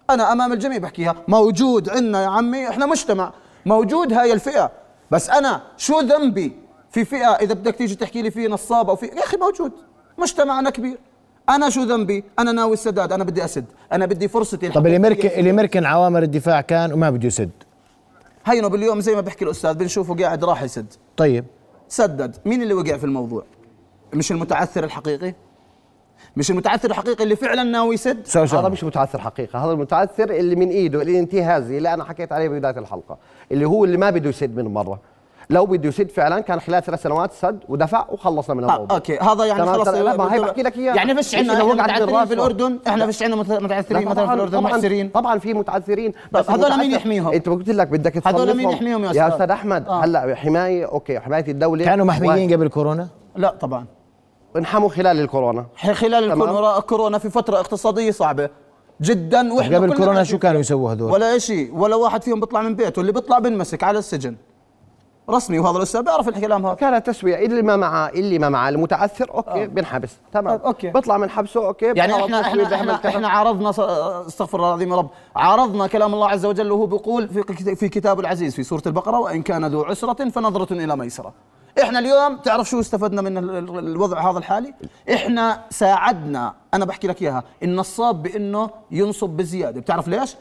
S4: أنا أمام الجميع بحكيها موجود عندنا يا عمي إحنا مجتمع موجود هاي الفئة بس أنا شو ذنبي في فئه اذا بدك تيجي تحكي لي في نصاب او في يا اخي موجود مجتمعنا كبير انا شو ذنبي انا ناوي السداد انا بدي اسد انا بدي فرصتي
S1: طب الامريكان الامريكان عوامر الدفاع كان وما بده يسد
S4: هينو باليوم زي ما بيحكي الاستاذ بنشوفه قاعد راح يسد
S1: طيب
S4: سدد مين اللي وقع في الموضوع مش المتعثر الحقيقي مش المتعثر الحقيقي اللي فعلا ناوي يسد
S1: سو
S2: هذا
S1: سو
S2: مش متعثر حقيقه هذا المتعثر اللي من ايده الانتهازي اللي انا حكيت عليه ببدايه الحلقه اللي هو اللي ما بده يسد من مره لو بده يسد فعلا كان خلال ثلاث سنوات سد ودفع وخلصنا من
S4: آه
S2: الموضوع
S4: اوكي هذا يعني
S2: تمام،
S4: خلص
S2: تمام، لا، ما هي
S4: بالطبع.
S2: بحكي لك إياها.
S4: يعني فيش
S2: إيش
S4: عندنا
S2: إذا وقعت
S4: متعثرين
S2: بالراس
S4: في الاردن احنا فيش عندنا مت-
S2: لا،
S4: متعثرين مثلا في
S2: طبعاً-
S4: الاردن
S2: طبعاً-
S4: محسرين
S2: طبعا في متعثرين بس
S4: هذول
S2: المتعثر-
S4: مين يحميهم؟
S2: انت قلت لك بدك
S4: هذول مين
S2: تصنفهم.
S4: يحميهم يا
S2: يا
S4: أستاذ؟
S2: استاذ احمد
S4: آه.
S2: هلا حمايه اوكي حمايه الدوله
S1: كانوا محميين قبل كورونا
S4: لا طبعا
S2: انحموا خلال الكورونا
S4: ح- خلال
S2: تمام.
S4: الكون وراء كورونا في فتره اقتصاديه صعبه جدا واحنا
S1: قبل
S4: كلنا
S1: كورونا
S4: عارفين.
S1: شو كانوا يسووا هذول
S4: ولا شيء ولا واحد فيهم بيطلع من بيته اللي بيطلع بنمسك على السجن رسمي وهذا الاستاذ بيعرف الكلام هذا
S2: كانت تسويه اللي ما معاه اللي ما معاه المتعثر اوكي آه. بنحبس تمام
S4: طيب، أوكي.
S2: بطلع من حبسه اوكي
S4: يعني
S2: بحاول
S4: احنا
S2: تسوية،
S4: احنا
S2: بيعمل
S4: احنا,
S2: كذا.
S4: احنا عرضنا ص- استغفر الله العظيم يا رب عرضنا كلام الله عز وجل وهو بيقول في كت- في كتاب العزيز في سوره البقره وان كان ذو عسره فنظره الى ميسره احنا اليوم تعرف شو استفدنا من ال- ال- الوضع هذا الحالي احنا ساعدنا انا بحكي لك اياها النصاب بانه ينصب بزياده بتعرف ليش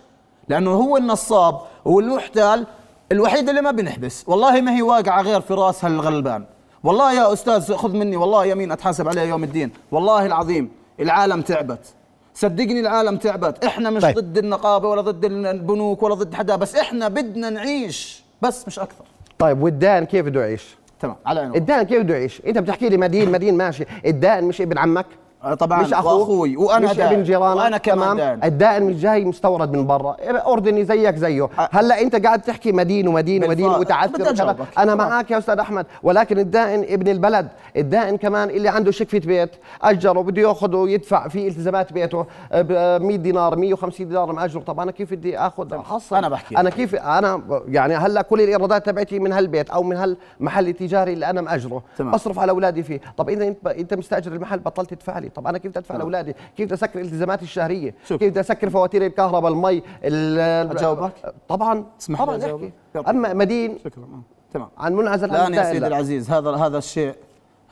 S4: لانه هو النصاب والمحتال الوحيد اللي ما بنحبس والله ما هي واقعه غير في راس هالغلبان والله يا استاذ خذ مني والله يمين اتحاسب عليه يوم الدين والله العظيم العالم تعبت صدقني العالم تعبت احنا مش
S1: طيب.
S4: طيب. ضد النقابه ولا ضد البنوك ولا ضد حدا بس احنا بدنا نعيش بس مش اكثر
S2: طيب والدان كيف بده يعيش؟
S4: تمام على عينه
S2: الدان كيف بده يعيش؟ انت بتحكي لي مدين مدين ماشي، الدائن مش ابن عمك؟
S4: آه طبعاً،
S2: مش أخوك،
S4: وأخوي، وأنا
S2: مش
S4: دائن،
S2: ابن جيرانك
S4: وأنا
S2: تمام؟
S4: كمان دائن.
S2: الدائن مش جاي مستورد من برا، اردني زيك زيه،
S4: آه.
S2: هلا انت قاعد تحكي مدين ومدين
S4: بالفعل.
S2: ومدين
S4: بدي
S2: وتعثر وكذا.
S4: أجاوبك.
S2: انا
S4: آه.
S2: معك يا استاذ احمد، ولكن الدائن ابن البلد، الدائن كمان اللي عنده شقفة بيت، اجره بده ياخذه ويدفع في التزامات بيته آه، ب- آه، 100 دينار 150 دينار مأجره، طب انا كيف بدي اخذ حصل
S4: أنا بحكي
S2: انا كيف انا يعني هلا كل الايرادات تبعتي من هالبيت او من هالمحل التجاري اللي انا ماجره
S4: تمام.
S2: بصرف على اولادي فيه طب اذا انت انت مستاجر المحل بطلت تدفع لي طب انا كيف بدي ادفع لاولادي كيف بدي اسكر الالتزاماتي الشهريه
S4: شوف.
S2: كيف بدي اسكر فواتير الكهرباء المي ال- ال-
S4: أجاوبك؟
S2: طبعا
S4: تسمح لي
S2: طبعا
S4: أجاوبك؟
S2: احكي
S4: يلا.
S2: اما مدين
S4: شكرا آه. تمام
S2: عن منعزل عن
S4: الان يا
S2: الدائرة.
S4: سيدي العزيز هذا هذا الشيء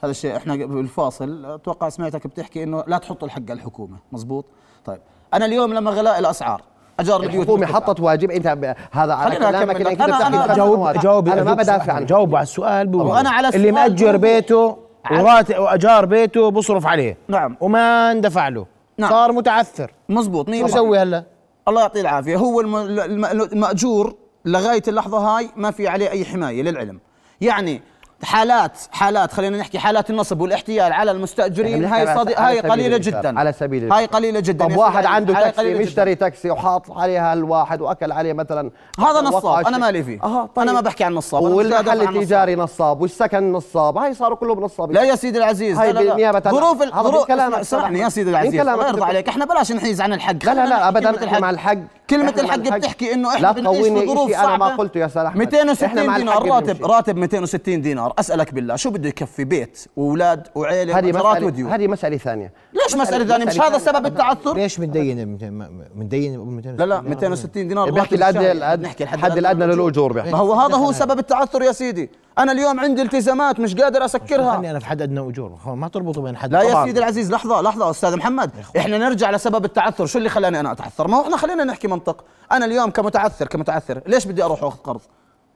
S4: هذا الشيء احنا بالفاصل اتوقع سمعتك بتحكي انه لا تحطوا الحق على الحكومه مزبوط طيب انا اليوم لما غلاء الاسعار اجار البيوت
S2: الحكومه
S4: مرتفعة.
S2: حطت واجب انت ب- هذا على
S4: خليني
S2: كلامك
S4: أكمل
S2: انك
S4: لك. أنا-
S2: تفتح
S4: أنا-
S2: لي خمس
S1: جاوب
S2: سنوات.
S1: جاوب
S2: انا ما
S1: جاوب-
S2: بدافع عنك
S1: جاوبوا على السؤال بيقولوا.
S4: أنا على
S1: اللي
S4: السؤال
S1: مأجر
S4: بقول-
S1: بيته
S4: على-
S1: ورات واجار بيته بصرف عليه
S4: نعم.
S1: وما اندفع له
S4: نعم.
S1: صار متعثر
S4: مزبوط
S1: شو
S4: 100%
S1: يسوي هلا
S4: الله يعطيه العافيه هو الم- الم- الماجور لغايه اللحظه هاي ما في عليه اي حمايه للعلم يعني حالات حالات خلينا نحكي حالات النصب والاحتيال على المستاجرين
S2: يعني
S4: هاي
S2: على-
S4: صدي
S2: على
S4: هاي
S2: سبيل
S4: قليله
S2: المثال،
S4: جدا
S2: على سبيل
S4: هاي
S2: المثال.
S4: قليله جدا يا
S2: طب
S4: سيدي
S2: واحد
S4: العزيز،
S2: عنده
S4: هاي
S2: تاكسي
S4: قليلة يعني جداً.
S2: مشتري تاكسي وحاط عليها الواحد واكل عليه مثلا
S4: هذا
S2: وقع
S4: نصاب، أنا
S2: شيء. طيب.
S4: مالي فيه. أنا ما بحكي عن نصاب، أنا مش قاعد أدافع
S2: والمحل
S4: عن نصاب.
S2: التجاري نصاب والسكن نصاب هاي صاروا كلهم نصابين
S4: لا يا سيدي العزيز
S2: هاي
S4: لا لا
S2: بالمية
S4: لا.
S2: بتعلق.
S4: ظروف ال-
S2: هذا
S4: ظروف
S2: بالكلام
S4: اسمع-
S2: أكثر
S4: اسمعني
S2: أحمد.
S4: يا سيدي العزيز
S2: بالكلام
S4: الله يرضى
S2: أكثر.
S4: عليك احنا بلاش نحيز عن الحق
S2: لا لا لا ابدا
S4: كلمة
S2: احنا مع الحق
S4: كلمة
S2: إحنا مع
S4: الحق بتحكي إنه إحنا
S2: لا
S4: بنعيش في
S2: تقويني
S4: ظروف
S2: شيء انا ما
S4: صعبة.
S2: قلته يا استاذ احمد
S4: 260
S2: إحنا مع
S4: دينار
S2: الحق
S4: راتب
S2: بنمشي.
S4: راتب 260 دينار اسالك بالله شو بده يكفي بيت واولاد وعيله
S2: هذه
S4: واجارات وديون
S2: مسألة هذه مسألة ثانية
S4: ليش مسألة ثانية مش
S2: مسألة
S4: هذا
S2: ثانية.
S4: سبب التعثر؟
S1: ليش متدين المت- م- متدين أبو 260
S4: لا لا
S1: دينار؟
S4: 260 دينار
S2: بحكي
S4: راتب
S2: الأدنى
S4: الشهري.
S2: الأدنى
S4: بنحكي
S2: الحد الأدنى للأجور بحكي
S4: ما هو هذا هو سبب التعثر يا سيدي أنا اليوم عندي التزامات مش قادر أسكرها
S1: خلني انا في حد ادنى اجور خلاص ما تربطوا بين حد
S4: لا يا
S1: طبعاً.
S4: سيدي العزيز لحظة لحظة أستاذ محمد إحنا نرجع لسبب التعثر شو اللي خلاني أنا أتعثر ما هو إحنا خلينا نحكي منطق أنا اليوم كمتعثر كمتعثر ليش بدي أروح وأخذ قرض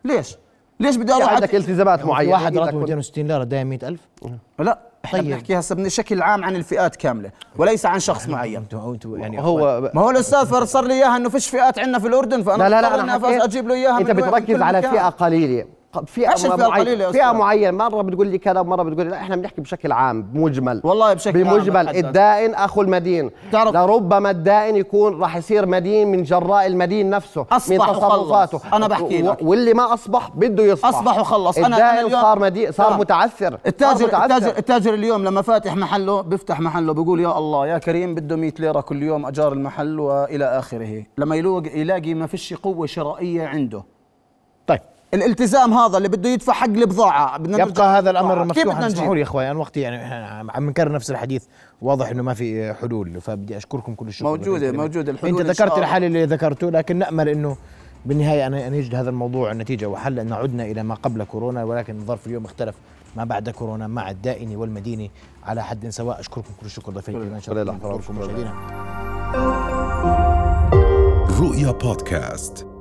S4: ليش ليش بدي أروح
S2: عندك
S4: أت-
S2: التزامات
S1: هو في
S2: معينة
S1: واحد
S2: أكيد
S1: راتبه
S2: أكون-
S1: 260 ليره دايم 100000
S4: لا إحنا
S1: طيب.
S4: بنحكي هسه بشكل عام عن الفئات كاملة وليس عن شخص معين
S1: انتوا انتوا يعني
S2: هو
S4: ما أيوة. هو الاستاذ فسر لي اياها انه فيش فئات عندنا في الاردن فانا
S2: لا لا
S4: مضطر
S2: لا
S4: إني
S2: انا
S4: أفوز
S2: حكيت
S4: اجيب له اياها من
S2: انت
S4: وين- من كل
S2: بتركز على
S4: مكان.
S2: فئه قليله ق-
S4: إيش
S2: فئه
S4: الفئة القليلة يا
S2: معينه
S4: أستاذ؟
S2: فئه معينه مره بتقول لي كذا مره بتقول لي لا احنا بنحكي بشكل عام بمجمل
S4: والله بشكل عام
S2: بمجمل
S4: بحدد.
S2: الدائن اخو المدين
S4: تعرف-
S2: لربما الدائن يكون راح يصير مدين من جراء المدين نفسه
S4: أصبح
S2: من
S4: وخلص.
S2: تصرفاته
S4: أنا بحكي
S2: و-
S4: لك.
S2: واللي ما اصبح بده يصبح
S4: اصبح وخلص
S2: الدائن
S4: انا اليوم-
S2: صار مدين صار
S4: تمام.
S2: متعثر صار
S4: التاجر
S2: متعثر.
S4: التاجر التاجر اليوم لما فاتح محله بيفتح محله بيقول يا الله يا كريم بده 100 ليره كل يوم اجار المحل والى اخره لما يلوق يلاقي ما فيش قوه شرائيه عنده
S1: طيب
S4: الالتزام هذا اللي بده يدفع حق البضاعه بدنا نرجع
S1: يبقى هذا الامر
S4: للبضاعة. كيف
S1: مفتوحا
S4: بدنا
S1: اسمحوا
S4: نجيب
S1: لي يا اخوي انا وقتي يعني إحنا عم عم نكرر نفس الحديث واضح انه ما في حلول فبدي اشكركم كل الشكر
S4: موجودة-
S1: لكل الكلمات.
S4: موجودة الحلول
S1: انت
S4: إن شاء
S1: ذكرت
S4: الله.
S1: الحل اللي ذكرته لكن نامل انه بالنهايه انا ان يجد هذا الموضوع نتيجه وحل ان عدنا الى ما قبل كورونا ولكن الظرف اليوم اختلف ما بعد كورونا مع الدائن والمدين على حد سواء اشكركم كل الشكر ضيفي الكريم
S2: شكراً لك.
S1: شكرا لكم مشاهدينا
S3: رؤيا بودكاست